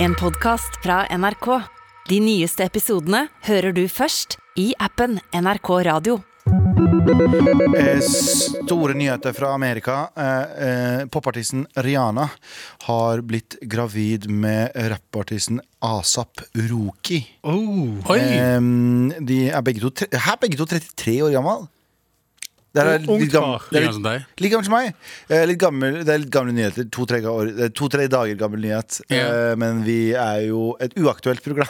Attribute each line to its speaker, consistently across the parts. Speaker 1: En podcast fra NRK. De nyeste episodene hører du først i appen NRK Radio.
Speaker 2: Eh, Store nyheter fra Amerika. Eh, eh, Popartisten Rihanna har blitt gravid med rappartisten Asap Roki.
Speaker 3: Oi!
Speaker 2: Eh, De er begge to, tre- her er begge to 33 år gamle. Det er
Speaker 3: Ungt
Speaker 2: litt gam-
Speaker 3: par,
Speaker 2: det er
Speaker 3: ja, som deg.
Speaker 2: litt, like gammel som meg. Eh, Litt gammel, det er litt gamle nyheter. To-tre to, tre dager gammel nyhet.
Speaker 3: Ja.
Speaker 2: Eh, Men vi er jo et uaktuelt program.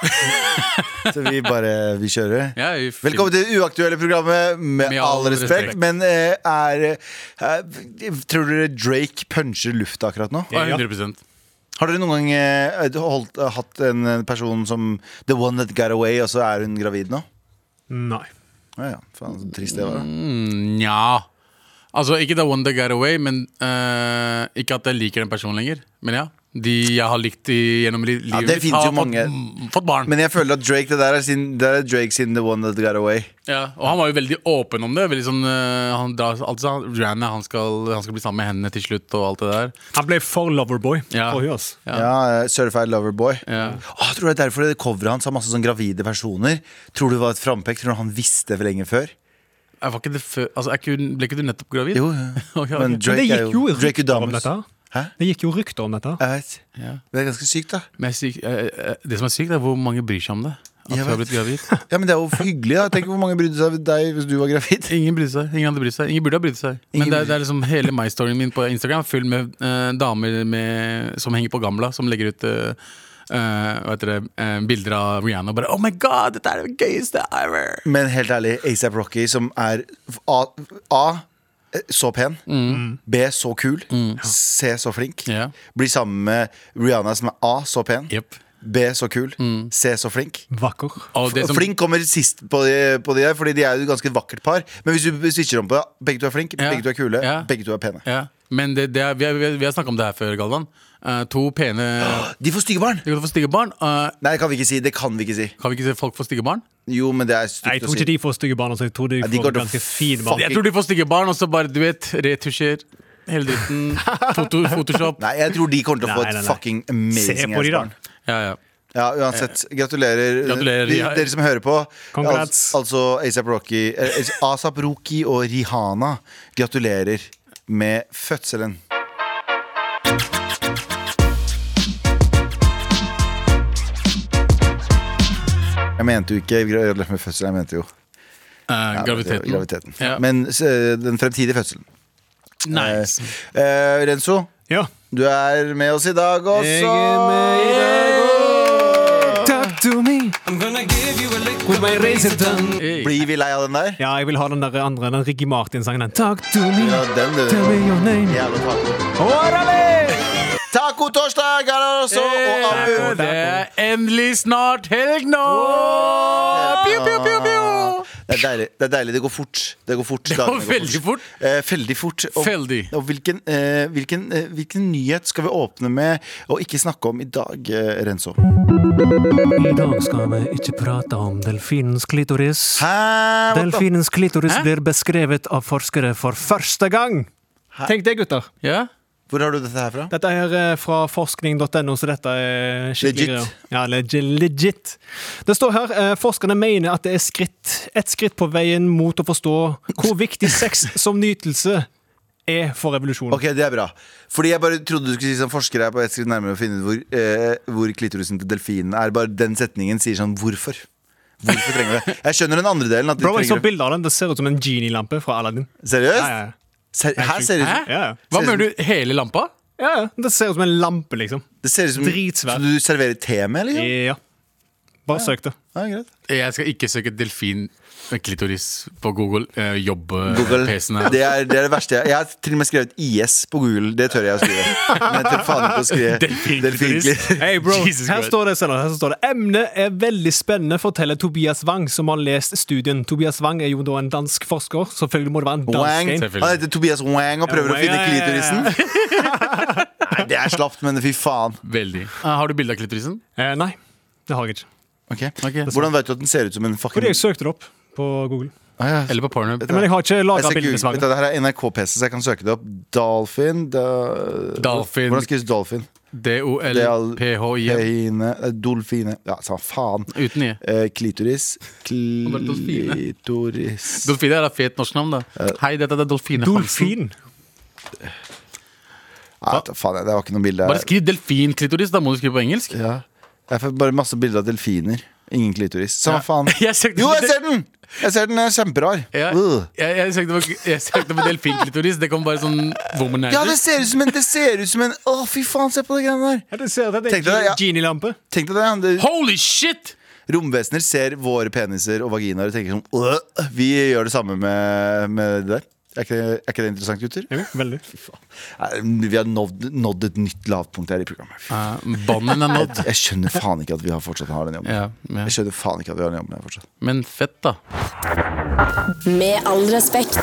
Speaker 2: Så vi bare vi kjører.
Speaker 3: Ja, vi fin-
Speaker 2: Velkommen til det uaktuelle programmet, med,
Speaker 3: Med
Speaker 2: all
Speaker 3: all
Speaker 2: respekt.
Speaker 3: respekt.
Speaker 2: Men eh, er eh, Tror dere Drake puncher lufta akkurat nå?
Speaker 3: Ja, 100
Speaker 2: Har dere noen gang eh, holdt, hatt en eh, person som The one that got away, og så er hun gravid nå?
Speaker 4: Nei.
Speaker 2: Ja, ja. Faen, så trist det var. da.
Speaker 3: Mm. Nja. Altså, ikke The One That Got Away, men eh, ikke at jeg liker den personen lenger. Men ja. De jeg har likt i, gjennom li livet
Speaker 2: det finnes
Speaker 3: har
Speaker 2: jo
Speaker 3: fått,
Speaker 2: mange.
Speaker 3: mm, fått barn.
Speaker 2: Men jeg føler at Drake, det der er, sin, det er Drake sin The one that got away.
Speaker 3: ja. Og han var jo veldig åpen om det. Veldig sånn, eh, han, drar- alt sånn, Rihanna, han, skal, han skal bli sammen med henne til slutt, og alt det der.
Speaker 4: Han ble for loverboy.
Speaker 3: Ja.
Speaker 4: for hun, ass.
Speaker 2: Ja, eh, Certified Lover Boy.
Speaker 3: Ja.
Speaker 2: Åh, tror du det er derfor det coveret hans har masse sånn gravide personer? Tror du det var et frampek? Tror du han visste for lenge før?
Speaker 3: Jeg var ikke det før, altså, er ikke, hun- ble ikke du nettopp gravid?
Speaker 2: Jo, eh, ja.
Speaker 3: Ok, ok.
Speaker 2: Men
Speaker 4: Men det
Speaker 2: Drake er
Speaker 4: gikk jo
Speaker 2: jo Drake
Speaker 4: rykter om
Speaker 2: Udamus.
Speaker 4: dette.
Speaker 2: Hæ?
Speaker 4: Det gikk jo rykter om dette.
Speaker 2: Jeg vet.
Speaker 3: Ja.
Speaker 2: Det er ganske sykt, da.
Speaker 3: Men jeg, er syk- eh, eh, det som er sykt, er hvor mange bryr seg om det. At
Speaker 2: Jeg
Speaker 3: hun har
Speaker 2: vet.
Speaker 3: blitt gravid.
Speaker 2: Ja, men Det er jo hyggelig. da Tenk hvor mange brydde seg om deg hvis du var gravid.
Speaker 3: Ingen brydde seg. Ingen hadde brydd seg. Ingen burde ha brydd seg. Men
Speaker 2: Ingen
Speaker 3: det er,
Speaker 2: bryr-
Speaker 3: det er liksom hele my storyen min på Instagram er full med eh, damer med, som henger på gamla, som legger ut eh, eh, hva heter det, eh, bilder av Rihanna og bare Oh my god, dette er det gøyeste ever!
Speaker 2: Men helt ærlig, ASAP Rocky, som er A, A så pen.
Speaker 4: Mm.
Speaker 2: B så kul. C så flink.
Speaker 3: Ja.
Speaker 2: Blir sammen med Rihanna, som er A så pen.
Speaker 3: Yep.
Speaker 2: B så kul.
Speaker 4: Mm.
Speaker 2: C så flink.
Speaker 4: Vakker.
Speaker 3: Og det som,
Speaker 2: Flink kommer sist på de, på de der, Fordi de er jo et ganske vakkert par. Men hvis du switcher om på det, begge to er flinke,
Speaker 3: Ja.
Speaker 2: begge to er kule,
Speaker 3: Ja.
Speaker 2: begge to er pene.
Speaker 3: ja. Men det, det er, vi, har, vi har- vi har snakka om det her før, Galvan. Eh, to pene
Speaker 2: De får stygge barn!
Speaker 3: De kan få stygge barn. Eh,
Speaker 2: Nei, det kan vi ikke si. Det kan vi ikke si.
Speaker 3: kan vi ikke se folk få stygge barn?
Speaker 2: Jo, men det er
Speaker 4: Nei, Jeg
Speaker 2: stygt å
Speaker 4: tror
Speaker 2: si.
Speaker 4: ikke de får stygge barn. Altså. Jeg tror de
Speaker 2: de går
Speaker 4: får
Speaker 2: til
Speaker 4: ganske fin
Speaker 2: fuck-
Speaker 4: barn.
Speaker 3: Jeg tror de får stygge barn, og så bare, du vet, retusjer. Hele dritten. Foto, Photoshop.
Speaker 2: Nei, jeg tror de kommer til å få
Speaker 4: Nei,
Speaker 2: et
Speaker 4: nei, nei.
Speaker 2: fucking amazing
Speaker 4: Se på de, da.
Speaker 2: ass-barn.
Speaker 3: Ja, ja.
Speaker 2: Ja, uansett. Gratulerer.
Speaker 3: Eh, Gratulerer,
Speaker 2: de,
Speaker 3: ja.
Speaker 2: dere som hører på.
Speaker 4: Congrats.
Speaker 2: Al altså ASAP Rocky eh, ASAP Rocky og Rihanna. Gratulerer med fødselen. Jeg mente jo ikke gratulerer med fødselen, jeg mente jo
Speaker 3: Eh,
Speaker 2: ja,
Speaker 3: graviteten.
Speaker 2: graviteten.
Speaker 3: Ja.
Speaker 2: Men eh, den fremtidige fødselen.
Speaker 3: Nice.
Speaker 2: Eh, eh, Renzo,
Speaker 4: Ja.
Speaker 2: du er med oss i dag også.
Speaker 4: Talk to me with my razor tongue.
Speaker 3: Hey.
Speaker 2: Blir vi lei av den der?
Speaker 4: Ja, jeg vil ha den der andre, den Ricky Martin-sangen. den. Talk to me,
Speaker 2: Ja, den du.
Speaker 4: tell me your name.
Speaker 2: Jævla taco.
Speaker 4: Orale!
Speaker 2: Taco torsdag er det også!
Speaker 3: Hey,
Speaker 2: Og Abu.
Speaker 4: Taco.
Speaker 3: Eh, Det er endelig snart helg nå! Pew, pew, pew, pew.
Speaker 2: Det er deilig. Det, er deilig. det går fort. Det går fort.
Speaker 3: går
Speaker 2: Dagene
Speaker 3: veldig fort.
Speaker 2: Eh, veldig fort. Og,
Speaker 3: Veldig.
Speaker 2: og hvilken, eh, hvilken, eh, hvilken nyhet skal vi åpne med og ikke snakke om i dag, eh, Renzo?
Speaker 4: I dag skal vi ikke prate om delfinens klitoris.
Speaker 2: Hæ? What the-
Speaker 4: Delfinens klitoris
Speaker 3: Hæ?
Speaker 4: blir beskrevet av forskere for første gang. Tenk det, gutter.
Speaker 3: Ja?
Speaker 2: Hvor har du dette her fra?
Speaker 4: Dette er eh, fra forskning.no, så dette er skikkelig
Speaker 2: Legit.
Speaker 4: greier. Ja, legit, legit. Det står her eh, forskerne mener at det er skritt, et skritt på veien mot å forstå hvor viktig sex som nytelse er for evolusjonen.
Speaker 2: Ok, Det er bra. Fordi jeg bare trodde du skulle si som forsker er på et skritt nærmere å finne ut hvor, eh, hvor klitorisen til delfinen er. Bare den setningen sier sånn hvorfor. Hvorfor trenger vi det? Jeg skjønner den andre delen. At de
Speaker 4: Bro, jeg så
Speaker 2: trenger det.
Speaker 4: liksom bilde av den. Det ser ut som en genie-lampe fra Aladdin.
Speaker 2: Seriøst?
Speaker 4: Ja, ja, ja.
Speaker 2: Ser, her ser det ut
Speaker 3: Hæ?
Speaker 2: som
Speaker 4: Ja, ja.
Speaker 3: Hva mener du? Hele lampa?
Speaker 4: ja, ja. Det ser ut som en lampe, liksom.
Speaker 2: Det ser ut som
Speaker 4: Dritsvær.
Speaker 2: som du serverer te med, liksom?
Speaker 4: Ja. Bare søk det.
Speaker 2: Ja, greit.
Speaker 3: Jeg skal ikke søke delfinklitoris på Google. Eh,
Speaker 2: Google.
Speaker 3: Jobb-PC-en her.
Speaker 2: Det er, det er det verste. Jeg, jeg har til og med skrevet IS på Google. Det tør jeg å skrive. Men jeg tør faen ikke å skrive delfinklitoris.
Speaker 4: Hey bro,
Speaker 3: Jesus
Speaker 4: her
Speaker 3: Christ.
Speaker 4: står, det, Steinar, her står det Emnet er veldig spennende, forteller Tobias Wang, som har lest studien. Tobias Wang er jo da en dansk forsker. Selvfølgelig må det være en
Speaker 2: Wang.
Speaker 4: dansk en.
Speaker 3: Selvfølgelig.
Speaker 2: Han heter Tobias Wang og prøver
Speaker 4: Ja,
Speaker 2: å finne
Speaker 4: ja, ja, ja.
Speaker 2: klitorisen. Nei, det er slapt, men fy faen.
Speaker 3: Veldig. Eh, har du bilde av klitorisen?
Speaker 4: Eh, nei, det har jeg ikke.
Speaker 2: Ok.
Speaker 3: Ok.
Speaker 2: Hvordan vet du at den ser ut som en fucking
Speaker 4: Fordi jeg søkte det opp på Google.
Speaker 2: ah, ja.
Speaker 3: Eller på Pornhub?
Speaker 2: Vet du hva?
Speaker 4: Men jeg har ikke
Speaker 2: Jeg
Speaker 4: laga
Speaker 2: skal
Speaker 4: bilde
Speaker 2: google-
Speaker 4: med
Speaker 2: vet
Speaker 4: Svang.
Speaker 2: du, Det her er NRK-PC, så jeg kan søke det opp. Dolphin da...
Speaker 3: Dolphin.
Speaker 2: Hvordan skrives dolphin?
Speaker 3: D-O-L-P-H-I-N.
Speaker 2: Peine, eh, dolfine Ja, sa faen.
Speaker 3: Uten i.
Speaker 2: Eh, klitoris.
Speaker 3: Og det er dolfine.
Speaker 2: Klitoris
Speaker 3: Dolfine er et fet norsk navn, da.
Speaker 2: Eh.
Speaker 3: Hei, dette er Dolfine Hansen.
Speaker 4: Dolfin.
Speaker 2: Nei, ta Ah, faen, det var ikke noe bilde.
Speaker 3: Bare skriv delfinklitoris, da må du skrive på engelsk.
Speaker 2: Ja. Jeg får bare masse bilder av delfiner. Ingen klitoris. Samme faen.
Speaker 3: Jeg søkte
Speaker 2: Jo,
Speaker 3: på
Speaker 2: jeg
Speaker 3: del-
Speaker 2: ser den! Jeg ser den, den er kjemperar.
Speaker 3: Ja,
Speaker 2: Øh.
Speaker 3: jeg, jeg, søkte på, jeg søkte på delfinklitoris. Det kom bare sånn womanizer.
Speaker 2: Ja, det ser ut som en Det ser ut som en Å, fy faen, se på de greiene der.
Speaker 4: Ja, du ser at det
Speaker 2: Tenkte det,
Speaker 4: er
Speaker 2: ja.
Speaker 4: en genie-lampe.
Speaker 2: Tenk deg det. det
Speaker 3: Holy shit!
Speaker 2: romvesener ser våre peniser og vaginaer og tenker sånn «Åh, Vi gjør det samme med, med det der. Er ikke, det- er ikke det interessant, gutter?
Speaker 4: Jo, Veldig.
Speaker 2: Nei, Vi har nådd, nådd et nytt lavpunkt her i programmet. Fy,
Speaker 3: Uh, Bånden er nådd.
Speaker 2: Jeg skjønner faen ikke at vi har fortsatt har den jobben.
Speaker 3: Ja, ja.
Speaker 2: Jeg skjønner faen ikke at vi har den jobben her fortsatt.
Speaker 3: Men fett, da.
Speaker 1: Med all respekt.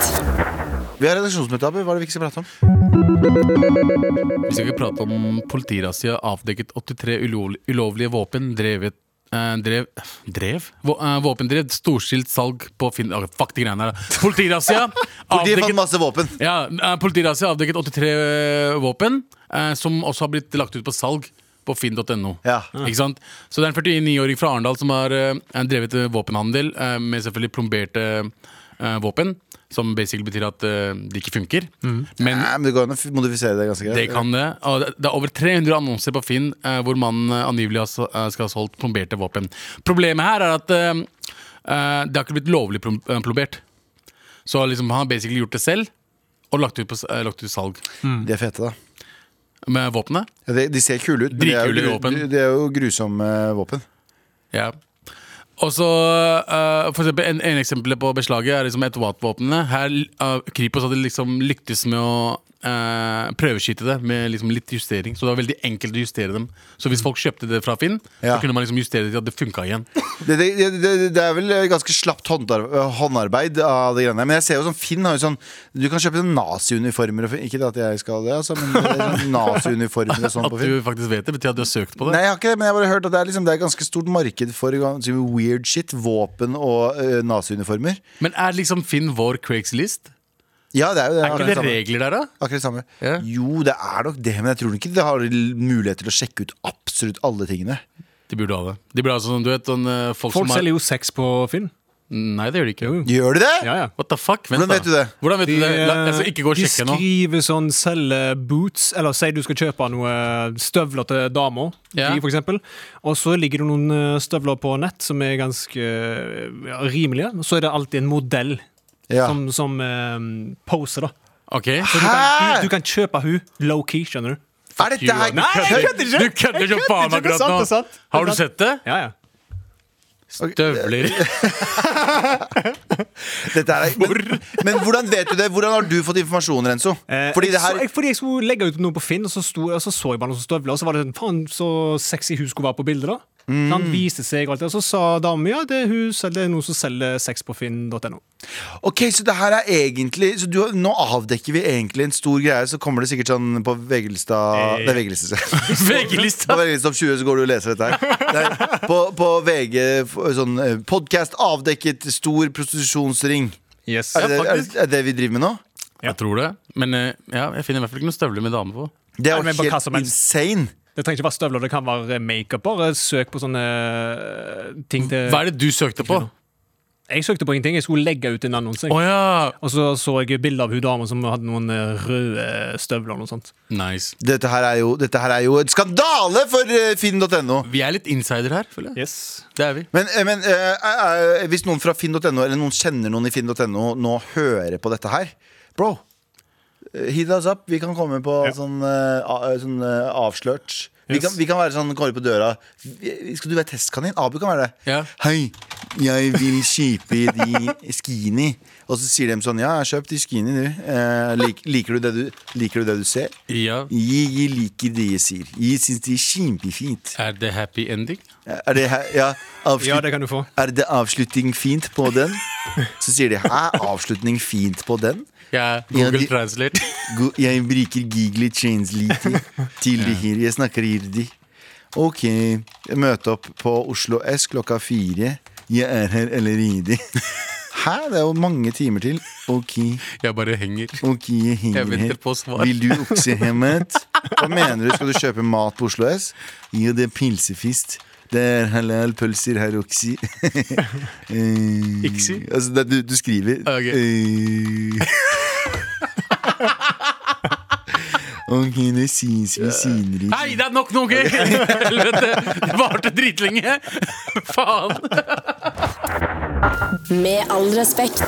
Speaker 2: Vi har redaksjonsmøte, Abu. Hva er det vi ikke skal prate om?
Speaker 3: Vi skal ikke prate om politirazzia avdekket 83 ulovl- ulovlige våpen drevet eh, drev Drev? Vå, eh, våpendrevet storstilt salg på Finn... ah, fuck de greiene her. da. Politirazzia
Speaker 2: De fant
Speaker 3: avdekket
Speaker 2: masse våpen.
Speaker 3: Ja, eh, Politirazzia avdekket 83 våpen, eh, som også har blitt lagt ut på salg på finn.no.
Speaker 2: Ja.
Speaker 3: Ikke sant? Så det er en 49-åring fra Arendal som har eh, drevet eh, våpenhandel eh, med selvfølgelig plomberte eh, våpen. Som basically betyr at eh, det ikke funker. Men
Speaker 2: Nei, men Det går an å f- modifisere det ganske greit.
Speaker 3: det kan det. Og det- det er over 300 annonser på Finn eh, hvor mannen eh, angivelig har, s- eh, skal ha solgt plomberte våpen. Problemet her er at eh, eh, det har ikke blitt lovlig plom- eh, plombert. Så liksom, han har basically gjort det selv og lagt ut, på, s- eh, lagt ut salg
Speaker 2: De er fete, da.
Speaker 3: med våpenet.
Speaker 2: Ja, de, de ser kule ut, men det er, jo,
Speaker 3: Dritkule
Speaker 2: gru-
Speaker 3: våpen.
Speaker 2: de- de er jo grusomme eh, våpen.
Speaker 3: Ja. Og så eh, for eksempel, en, en eksempel på beslaget er liksom automatvåpnene. Her eh, Kripos hadde liksom lyktes med å eh, prøveskyte det med liksom litt justering. Så det var veldig enkelt å justere dem. Så hvis folk kjøpte det fra Finn,
Speaker 2: Mm. Ja.
Speaker 3: så kunne man liksom justere det til at det funka igjen.
Speaker 2: Det, det, det, det- det er vel eh, ganske slapt håndar- håndarbeid av de greiene der. Men jeg ser jo sånn Finn har jo sånn Du kan kjøpe sånn naziuniformer og f- Ikke det at jeg skal det, altså, men det er sånn naziuniformer og sånn
Speaker 3: At
Speaker 2: på
Speaker 3: du
Speaker 2: Finn.
Speaker 3: faktisk vet det, betyr at du har søkt på det.
Speaker 2: Nei, jeg har ikke det, men jeg har bare hørt at det er, liksom, det er ganske stort marked for eh, ganske mye weird shit. Våpen og uh, naziuniformer.
Speaker 3: Men er liksom Finn vår Craigslist?
Speaker 2: Ja, det er jo det.
Speaker 3: Er ikke det
Speaker 2: akkurat samme.
Speaker 3: regler der, da?
Speaker 2: Akkurat det samme.
Speaker 3: Ja.
Speaker 2: Jo, det er nok det, men jeg tror ikke det har mulighet til å sjekke ut absolutt alle tingene.
Speaker 3: De burde ha det. De burde ha sånn, du vet, sånn, eh, folk,
Speaker 4: Folk
Speaker 3: som har
Speaker 4: selger jo sex på Finn.
Speaker 3: Nei, det gjør de ikke.
Speaker 4: Jo, jo.
Speaker 2: Gjør de det?
Speaker 4: Ja, ja.
Speaker 3: What the fuck? Vent,
Speaker 2: Hvordan vet
Speaker 3: da.
Speaker 2: du det? eh,
Speaker 3: Hvordan vet
Speaker 4: De,
Speaker 3: du det? La, jeg skal ikke gå og
Speaker 4: de
Speaker 3: sjekke nå.
Speaker 4: skriver sånn 'selge boots', eller si du skal kjøpe noe støvler til damer.
Speaker 3: Ja.
Speaker 4: de, for eksempel. Og så ligger det noen eh, støvler på nett som er ganske eh, ja, rimelige. Og så er det alltid en modell
Speaker 2: Ja.
Speaker 4: som, som eh, poser, da.
Speaker 3: Ok
Speaker 4: Så du kan,
Speaker 2: Hæ?
Speaker 4: du, du kan kjøpe hun low-key, skjønner du.
Speaker 2: Er dette her
Speaker 3: Nei,
Speaker 4: jeg kødder ikke!
Speaker 3: Du kødder
Speaker 4: Jeg
Speaker 3: som faen
Speaker 4: kødder ikke,
Speaker 3: akkurat
Speaker 4: sant,
Speaker 3: nå!
Speaker 4: det er sant, det er
Speaker 3: Har du
Speaker 4: sant.
Speaker 3: sett det?
Speaker 4: Ja, ja.
Speaker 3: Støvler.
Speaker 2: Dette er, men, men hvordan vet du det? Hvordan har du fått informasjon, Renzo?
Speaker 4: Eh,
Speaker 2: Fordi det her
Speaker 4: så, jeg, fordi jeg skulle legge ut noe på Finn, og så, sto, og så så jeg bare noen støvler. Og så var det sånn, faen så sexy hun skulle være på bildet. da
Speaker 2: Mm.
Speaker 4: Han viste seg og alt det, Og så sa damen ja, det er hun selv, det er noen som selger sex på finn.no.
Speaker 2: Ok, så det her er egentlig så du, Nå avdekker vi egentlig en stor greie, så kommer det sikkert sånn på Vegelstad
Speaker 4: Eh.
Speaker 2: Det er Vegelstad. På
Speaker 3: VG-lista!
Speaker 2: Vegelstad om 20 så går du og leser dette her. Nei, på, på VG f- sånn podkast avdekket stor prostitusjonsring.
Speaker 4: Yes.
Speaker 2: Er det, er,
Speaker 3: faktisk.
Speaker 2: det- er det vi driver med nå?
Speaker 3: Jeg tror det. Men eh, ja, jeg finner i hvert fall ikke noen støvler med dame på.
Speaker 2: Det
Speaker 4: Nei,
Speaker 2: er
Speaker 4: men
Speaker 2: jo
Speaker 4: bare hva som
Speaker 2: helt
Speaker 4: helst.
Speaker 2: insane.
Speaker 4: Det trenger ikke være støvler, det kan være makeup. Bare søk på sånne eh, ting til
Speaker 3: Hva er det du søkte på?
Speaker 4: Jeg søkte på ingenting, jeg skulle legge ut en annonse.
Speaker 3: Å ja!
Speaker 4: Og så så jeg bilde av hun dama som hadde noen eh, røde støvler. og noe sånt
Speaker 3: Nice.
Speaker 2: Dette her er jo, dette her er jo en skandale for eh, finn.no.
Speaker 3: Vi er litt insider her, føler jeg.
Speaker 4: Yes
Speaker 3: Det er vi.
Speaker 2: Men, eh, men eh, eh, eh, hvis noen fra finn.no eller noen kjenner noen i finn.no nå hører på dette her Bro, eh, hit us up. Vi kan komme på
Speaker 4: Ja.
Speaker 2: sånn, eh, a- eh, sånn eh, avslørt. Vi,
Speaker 4: Yes.
Speaker 2: kan, vi kan være sånn kåre på døra. Vi- Skal du være testkanin? Abu kan være det.
Speaker 3: Ja.
Speaker 2: Hei, jeg vil kjøpe de skinny. Og så sier de sånn Ja, jeg har kjøpt de skinny, du. Eh, lik, liker, du det du liker du det du ser?
Speaker 3: Ja.
Speaker 2: Jeg, jeg liker det jeg sier. Jeg syns det er kjempefint.
Speaker 3: Er det happy ending?
Speaker 2: Er det her Ja, avslutt.
Speaker 4: Ja, det kan du få.
Speaker 2: Er det avslutning fint på den? Så sier de Er avslutning fint på den?
Speaker 3: Ja,
Speaker 2: Ja,
Speaker 3: Google
Speaker 2: de-
Speaker 3: translate.
Speaker 2: Go- Jeg bruker Gigli Chansliti til det her. Jeg snakker irdi. Ok, møte opp på Oslo S klokka fire. Jeg er her allerede. Hæ? Det er jo mange timer til. Ok,
Speaker 3: Jeg bare henger.
Speaker 2: ok, jeg
Speaker 3: Jeg
Speaker 2: henger
Speaker 3: venter på
Speaker 2: her.
Speaker 3: svar.
Speaker 2: Vil du okse hjemmet? Hva mener du? Skal du kjøpe mat på Oslo S? Jo, det er pilsefist. Det er halal pølser her også. Eh,
Speaker 3: Iksi?
Speaker 2: Altså, det, du, du skriver
Speaker 3: Ah, Ok.
Speaker 2: eh. Ok, det sies vi senere.
Speaker 3: Hei, det er nok nå, OK? Helvete. Det varte dritlenge. Faen.
Speaker 5: Med all respekt.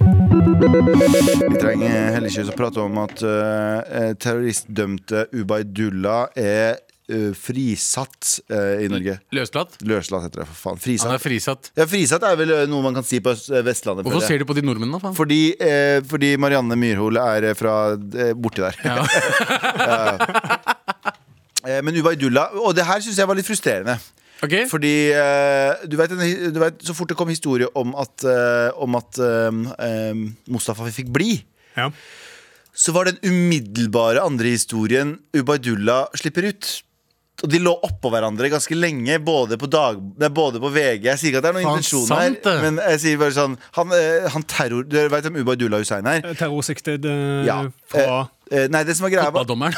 Speaker 2: Vi trenger heller ikke å prate om at eh, terroristdømte Ubaidullah er eh, frisatt eh, i Norge.
Speaker 3: Løslatt?
Speaker 2: Løslatt heter det, for faen.
Speaker 3: Han er
Speaker 2: Frisatt.
Speaker 3: frisatt.
Speaker 2: Ja, frisatt er vel eh, noe man kan si på eh, Vestlandet.
Speaker 3: Hvorfor
Speaker 2: føler jeg.
Speaker 3: ser du på de nordmennene, da, faen?
Speaker 2: Fordi, eh, fordi Marianne Myrhol er eh, fra eh, borti der.
Speaker 3: Ja.
Speaker 2: Eh, men Ubaidullah Og det her syns jeg var litt frustrerende.
Speaker 3: OK?
Speaker 2: Fordi eh, du vet, en- du vet, så fort det kom historie om at, eh, om at eh, eh, Mustafa fikk bli
Speaker 4: Ja.
Speaker 2: så var den umiddelbare andre historien Ubaidullah slipper ut. Og de lå oppå hverandre ganske lenge, både på, dag, nei, både på VG Jeg sier ikke at det er noen
Speaker 3: Faen,
Speaker 2: intensjon her,
Speaker 3: sant det.
Speaker 2: men jeg sier bare sånn Han, eh, han terror... Du vet hvem Ubaidullah Hussein er?
Speaker 4: Terrorsiktet eh,
Speaker 2: Ja.
Speaker 4: fra
Speaker 2: Eh, nei, det som var greia var
Speaker 3: Fotballdommeren.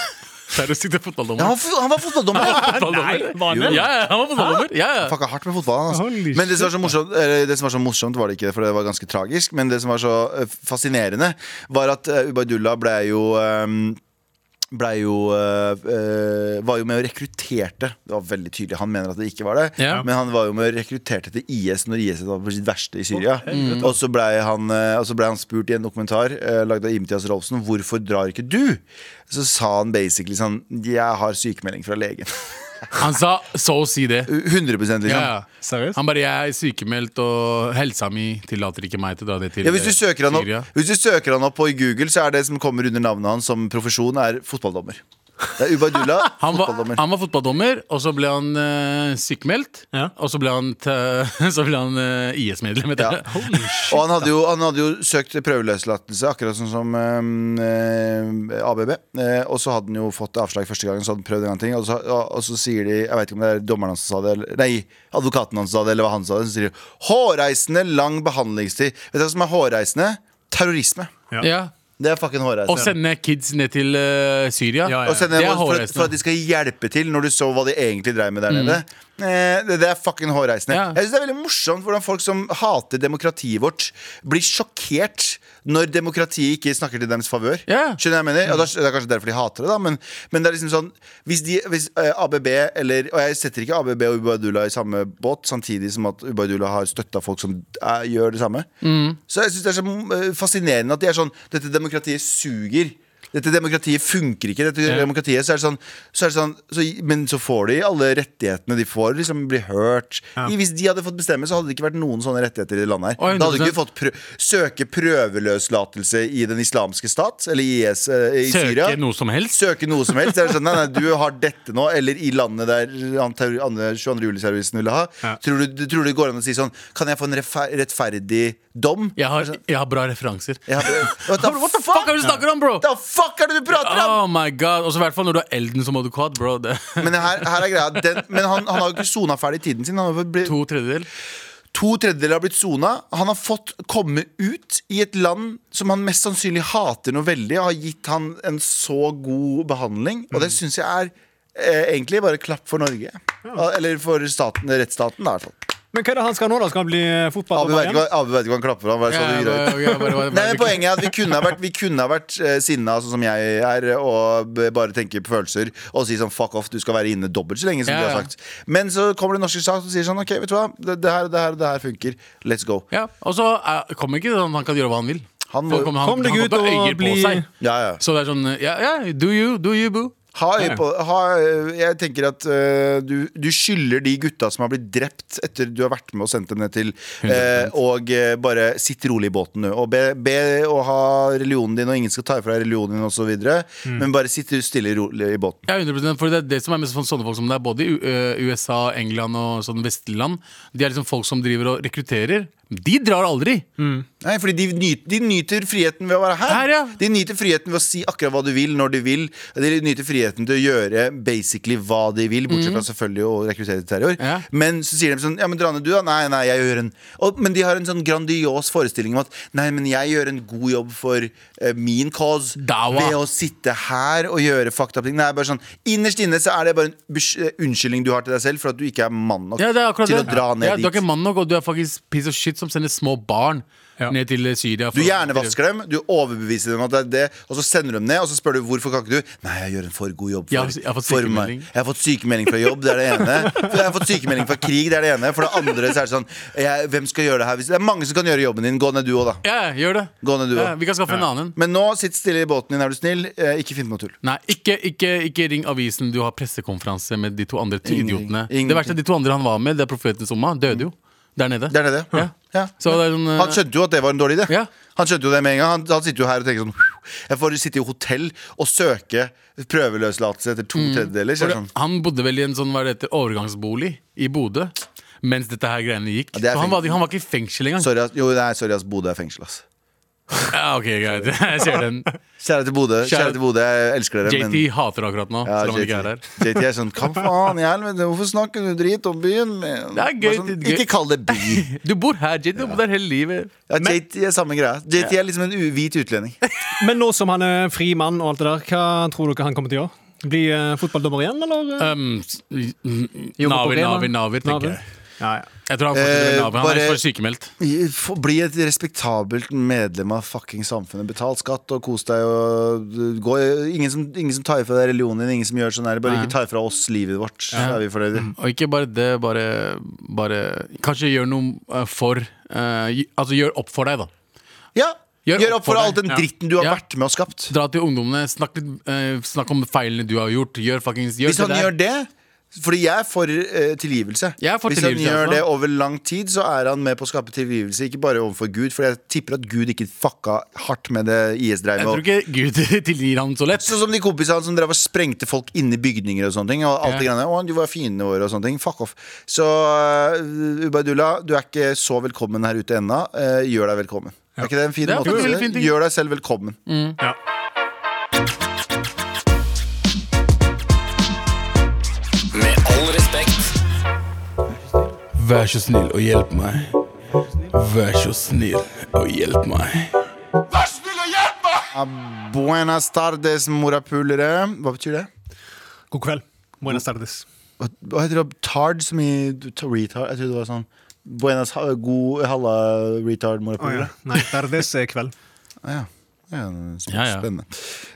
Speaker 3: Terrorsiktet
Speaker 2: ja,
Speaker 3: fotballdommer.
Speaker 2: han, f- han var fotballdommer!
Speaker 3: Fotballdommer.
Speaker 4: var
Speaker 3: Ja,
Speaker 4: det?
Speaker 3: ja, han var fotballdommer. Ja, ja.
Speaker 2: Fucka hardt med fotballen.
Speaker 4: Holy
Speaker 2: Altså. Men det som, var så morsomt, eller, det som var så morsomt, var det ikke, for det var ganske tragisk. Men det som var så eh, fascinerende, var at eh, Ubaidullah ble jo eh, ble jo eh, eh, Var jo med og rekrutterte. Det var veldig tydelig, han mener at det ikke var det.
Speaker 3: Ja.
Speaker 2: Men han var jo med og rekrutterte til IS når IS var på sitt verste i Syria. Og så blei han, eh, og så ble han spurt i en dokumentar eh, lagd av Imtiaz Rolfsen hvorfor drar ikke du? Så sa han basically sånn Jeg har sykemelding fra legen.
Speaker 3: Han sa så å si det.
Speaker 2: 100 liksom.
Speaker 3: Ja, ja.
Speaker 4: Seriøst?
Speaker 3: Han bare 'jeg er sykemeldt, og helsa mi tillater ikke meg til å dra det til
Speaker 2: Ja, hvis, du søker han opp,
Speaker 3: Syria'.
Speaker 2: hvis du søker han opp på Google, så er det som kommer under navnet hans som profesjon, er fotballdommer. Det er Ubaidullah,
Speaker 3: Han var,
Speaker 2: fotballdommer.
Speaker 3: han var fotballdommer, og så ble han eh, sykemeldt.
Speaker 4: Ja.
Speaker 3: Og så ble han, te- så ble han eh, IS-medlem. etter
Speaker 2: Ja.
Speaker 3: det.
Speaker 2: Og han hadde, jo,
Speaker 3: altså.
Speaker 2: han hadde jo søkt prøveløslatelse, akkurat sånn som eh, eh, ABB. Eh, og så hadde han jo fått avslag første gangen, så hadde han prøvd en gang ting. Og så, og, og så sier de, jeg vet ikke om det er dommeren hans som sa det, eller, nei, advokaten hans sa det, eller hva han sa det, så sier de hårreisende lang behandlingstid. Vet du hva som er hårreisende? Terrorisme.
Speaker 4: Ja.
Speaker 3: Ja.
Speaker 2: Det er fucking
Speaker 3: Og
Speaker 2: hårreisende.
Speaker 3: sende kids ned til eh, Syria.
Speaker 4: Ja, ja.
Speaker 2: Og sende
Speaker 3: Det er
Speaker 2: dem for, at-
Speaker 3: hårreisende. Mm.
Speaker 2: for at de skal hjelpe til, når du så hva de egentlig dreiv med der nede. Eh, Det, det er fucking hårreisende.
Speaker 3: Ja.
Speaker 2: Jeg synes Det er veldig morsomt hvordan folk som hater demokratiet vårt, blir sjokkert når demokratiet ikke snakker til deres favør.
Speaker 3: Ja.
Speaker 2: Skjønner jeg hva jeg mener? Og da- det er kanskje derfor de hater det, da. Men, men det er liksom sånn Hvis, de, hvis eh, ABB eller Og jeg setter ikke ABB og Ubaidullah i samme båt, samtidig som at Ubaidullah har støtta folk som eh, gjør det samme. Så jeg syns det er så eh, fascinerende at de er sånn Dette demokratiet suger. Dette demokratiet funker ikke. Dette demokratiet Så er det sånn, så er det sånn så, Men så får de alle rettighetene de får. Liksom blir hørt. I- Hvis de hadde fått bestemme, så hadde det ikke vært noen sånne rettigheter i det landet her.
Speaker 3: Oi,
Speaker 2: da hadde du
Speaker 3: 100%.
Speaker 2: ikke fått prø søke prøveløslatelse i Den islamske stat, eller IS eh, i Syria.
Speaker 3: Søke noe som helst.
Speaker 2: Søke noe som helst. Så er det sånn, nei, nei, du har dette nå, eller i landet der han terror- andre 22. juli-terroristen ville ha.
Speaker 4: Ja.
Speaker 2: Tror, du, tror du det går an å si sånn Kan jeg få en rettfer- rettferdig dom?
Speaker 3: Jeg har, jeg har bra referanser.
Speaker 2: Jeg har- what, the,
Speaker 3: What the fuck er det du snakker om, bro?
Speaker 2: What the fuck er det du prater om?!
Speaker 3: Oh my god, Og så i hvert fall når du har Elden som advokat, bro. Det.
Speaker 2: Men, her, her er greia den, men han, han har jo ikke sona ferdig tiden sin. Han har blitt, to.
Speaker 3: To tredjedel.
Speaker 2: tredjedeler har blitt sona. Han har fått komme ut i et land som han mest sannsynlig hater noe veldig, og har gitt han en så god behandling. Og det syns jeg er eh, egentlig bare klapp for Norge. Eller for staten, rettsstaten, da, i hvert fall.
Speaker 4: Men hva er det han skal nå, da? Skal han bli eh,
Speaker 2: Abu
Speaker 4: fotballdommer
Speaker 2: vet, ikke
Speaker 4: igjen?
Speaker 2: hva- Abu vet ikke hva han klapper for. Han bare så det
Speaker 3: Ja,
Speaker 2: videre ut.
Speaker 3: ja, ja, bare- bare-
Speaker 2: Nei, men
Speaker 3: bare-
Speaker 2: Poenget er at vi kunne ha vært, vi kunne ha vært eh, sinna sånn som jeg er, og b- bare tenke på følelser og si sånn fuck off, du skal være inne dobbelt så lenge som
Speaker 3: Ja,
Speaker 2: du har
Speaker 3: ja.
Speaker 2: sagt. Men så kommer det norske sak og sier sånn OK, vet du hva, det, det her det her, det her funker. Let's go.
Speaker 3: Ja, Og så eh, kommer ikke sånn han kan gjøre hva han vil.
Speaker 2: Han må-
Speaker 3: Så kommer han-
Speaker 4: Kom deg
Speaker 3: han
Speaker 4: ut
Speaker 3: kommer til å
Speaker 4: og
Speaker 3: øye på
Speaker 4: bli-
Speaker 3: seg.
Speaker 2: Ja, ja.
Speaker 3: Så det er sånn Ja, ja, do you, do you, boo.
Speaker 2: Ha øye på ha, øye- Jeg tenker at eh, du, du skylder de gutta som har blitt drept etter du har vært med og sendt dem ned til eh, Og eh, bare sitt rolig i båten nå. Og be, be å ha religionen din, og ingen skal ta ifra deg religionen din osv. videre Men bare sitt stille og rolig i båten.
Speaker 3: Ja, 100 for Det er det som er mest for sånne folk som det sånn er både i U- eh, USA, England og sånne vestlige land. De er liksom folk som driver og rekrutterer, De drar aldri.
Speaker 4: Mm.
Speaker 2: Nei, fordi de, nyt, de nyter friheten ved å være her.
Speaker 3: Her, ja.
Speaker 2: De nyter friheten ved å si akkurat hva du vil, når du vil. De nyter friheten til å gjøre basically hva de vil, bortsett fra selvfølgelig å rekruttere til terror.
Speaker 3: Mhm. Ja.
Speaker 2: Men så sier de sånn Ja, men Drane, du da? Nei, nei, jeg gjør en og, Men de har en sånn grandios forestilling om at Nei, men jeg gjør en god jobb for eh, min cause
Speaker 3: Dawa.
Speaker 2: ved å sitte her og gjøre fucked up ting. Nei, bare sånn Innerst inne så er det bare en bes- eh, unnskyldning du har til deg selv for at du ikke er mann nok
Speaker 3: Ja, det er akkurat
Speaker 2: til
Speaker 3: det.
Speaker 2: å dra ned
Speaker 3: ja, Du er
Speaker 2: dit.
Speaker 3: ikke mann nok, og du er faktisk piece of shit som sender små barn ned til Syria. for-
Speaker 2: Du hjernevasker dem, du overbeviser dem at det er det, og så sender du dem ned, og så spør du hvorfor kan ikke du Nei, jeg gjør en for god jobb for,
Speaker 3: Jeg har- jeg har fått
Speaker 2: for meg.
Speaker 3: sykemelding.
Speaker 2: Jeg har fått sykemelding fra jobb, det er det ene. Jeg har fått sykemelding fra krig, det er det ene. For det andre så er det sånn jeg, Hvem skal gjøre det her? Hvis- Det er mange som kan gjøre jobben din. Gå ned du òg, da.
Speaker 3: Ja, ja, gjør det.
Speaker 2: Gå ned du
Speaker 3: Ja,
Speaker 2: òg.
Speaker 3: vi kan skaffe en annen.
Speaker 2: Men nå, sitt stille i båten din, er du snill. Eh, ikke finn på noe tull.
Speaker 3: Nei, ikke, ikke, ikke ring avisen. Du har pressekonferanse med de to andre ty-
Speaker 2: Ingenting.
Speaker 3: idiotene.
Speaker 2: Ingenting.
Speaker 3: Det verste er de to andre han var med, det er profeten Summa, døde jo der nede.
Speaker 2: Det er det det.
Speaker 3: Ja.
Speaker 2: Ja.
Speaker 3: Så det er sånn, eh,
Speaker 2: Han skjønte jo at det var en dårlig idé.
Speaker 3: Ja.
Speaker 2: Han skjønte jo det med en gang han, han sitter jo her og tenker sånn Jeg får sitte i hotell og søke prøveløslatelse etter to tredjedeler. Så
Speaker 3: Mm. for
Speaker 2: er det
Speaker 3: det,
Speaker 2: sånn.
Speaker 3: han bodde vel i en sånn hva det heter, overgangsbolig i Bodø mens dette her greiene gikk.
Speaker 2: Ja, det er
Speaker 3: så han
Speaker 2: fint.
Speaker 3: var, han var ikke i fengsel engang.
Speaker 2: Sorry, ass. Jo, nei, sorry, ass. Bodø er fengsel, ass.
Speaker 3: Ja, ok, greit. Jeg ser den.
Speaker 2: Kjære til Bodø.
Speaker 3: Kjære-
Speaker 2: Kjære til Bodø, jeg elsker dere.
Speaker 3: JT hater akkurat nå,
Speaker 2: ja,
Speaker 3: selv om han ikke
Speaker 2: JT.
Speaker 3: er her.
Speaker 2: JT er sånn Hva faen i helvete, hvorfor snakker du drit om byen min?
Speaker 3: Det er gøy,
Speaker 2: Bare sånn,
Speaker 3: det er gøy.
Speaker 2: Ikke kall det by.
Speaker 3: Du bor her, JT. Du bor der hele livet.
Speaker 2: Ja, JT er samme greia. JT er liksom en u- hvit utlending.
Speaker 4: Men nå som han er fri mann og alt det der, hva tror dere han kommer til å gjøre? Bli eh, fotballdommer igjen, eller? eh,
Speaker 3: Um, s- mm,
Speaker 4: jobbe på
Speaker 3: Navi,
Speaker 4: Rema?
Speaker 3: Navi, Navi,
Speaker 4: Navi?
Speaker 3: tenker jeg.
Speaker 4: Ja, ja.
Speaker 3: Jeg tror han fortsetter
Speaker 2: Eh,
Speaker 3: med Navi. Han er
Speaker 2: bare-
Speaker 3: for sykemeldt.
Speaker 2: Få- Bli et respektabelt medlem av fucking samfunnet. Betal skatt og kos deg. Og eh, gå. Ingen, som, ingen som tar ifra deg religionen din. Ingen som gjør sånn her. Bare
Speaker 3: Nei. Mm.
Speaker 2: ikke ta ifra oss livet vårt. Så er vi fornøyde.
Speaker 3: Og ikke bare det, bare, bare Kanskje gjør noe eh, for eh, gi- Altså gjør opp for deg, da.
Speaker 2: Ja! Gjør, opp for all
Speaker 3: deg.
Speaker 2: den
Speaker 3: Ja.
Speaker 2: dritten du har
Speaker 3: Ja.
Speaker 2: vært med og skapt.
Speaker 3: Dra til ungdommene, snakk, litt, eh, snakk om feilene du har gjort. Gjør fuckings gjør
Speaker 2: Hvis han
Speaker 3: det der.
Speaker 2: gjør det fordi jeg er for eh, tilgivelse.
Speaker 3: Jeg er for
Speaker 2: Hvis han
Speaker 3: tilgivelse,
Speaker 2: gjør
Speaker 3: altså.
Speaker 2: det over lang tid, så er han med på å skape tilgivelse. Ikke bare overfor Gud, for jeg tipper at Gud ikke fucka hardt med det IS-dreivet.
Speaker 3: Jeg tror ikke Gud tilgir ham så lett.
Speaker 2: Sånn som de kompisene hans som drev og sprengte folk inni bygninger og sånne ting. Og alt det
Speaker 3: Ja.
Speaker 2: greiene. Å, de var fiendene våre og sånne ting. Fuck off. Så uh, Ubaidullah, du er ikke så velkommen her ute ennå. Eh, gjør deg velkommen. Er ikke det en fin
Speaker 3: Det er
Speaker 2: måte
Speaker 3: faktisk
Speaker 2: å
Speaker 3: en
Speaker 2: si
Speaker 3: fin
Speaker 2: det?
Speaker 3: ting.
Speaker 2: Gjør deg selv velkommen.
Speaker 6: Med all respekt.
Speaker 3: Vær så snill og hjelp meg. Vær så snill og hjelp meg.
Speaker 2: Buenas tardes, morapulere. Hva betyr det?
Speaker 4: God kveld. Buenas tardes.
Speaker 2: Hva hva heter det? Tard som i t- retard? Jeg trodde det var sånn Buenas, ha- god halla, retard morapulere.
Speaker 4: Nei, tardes er kveld.
Speaker 2: ja. Ja, det er
Speaker 3: Ja, ja.
Speaker 2: Spennende.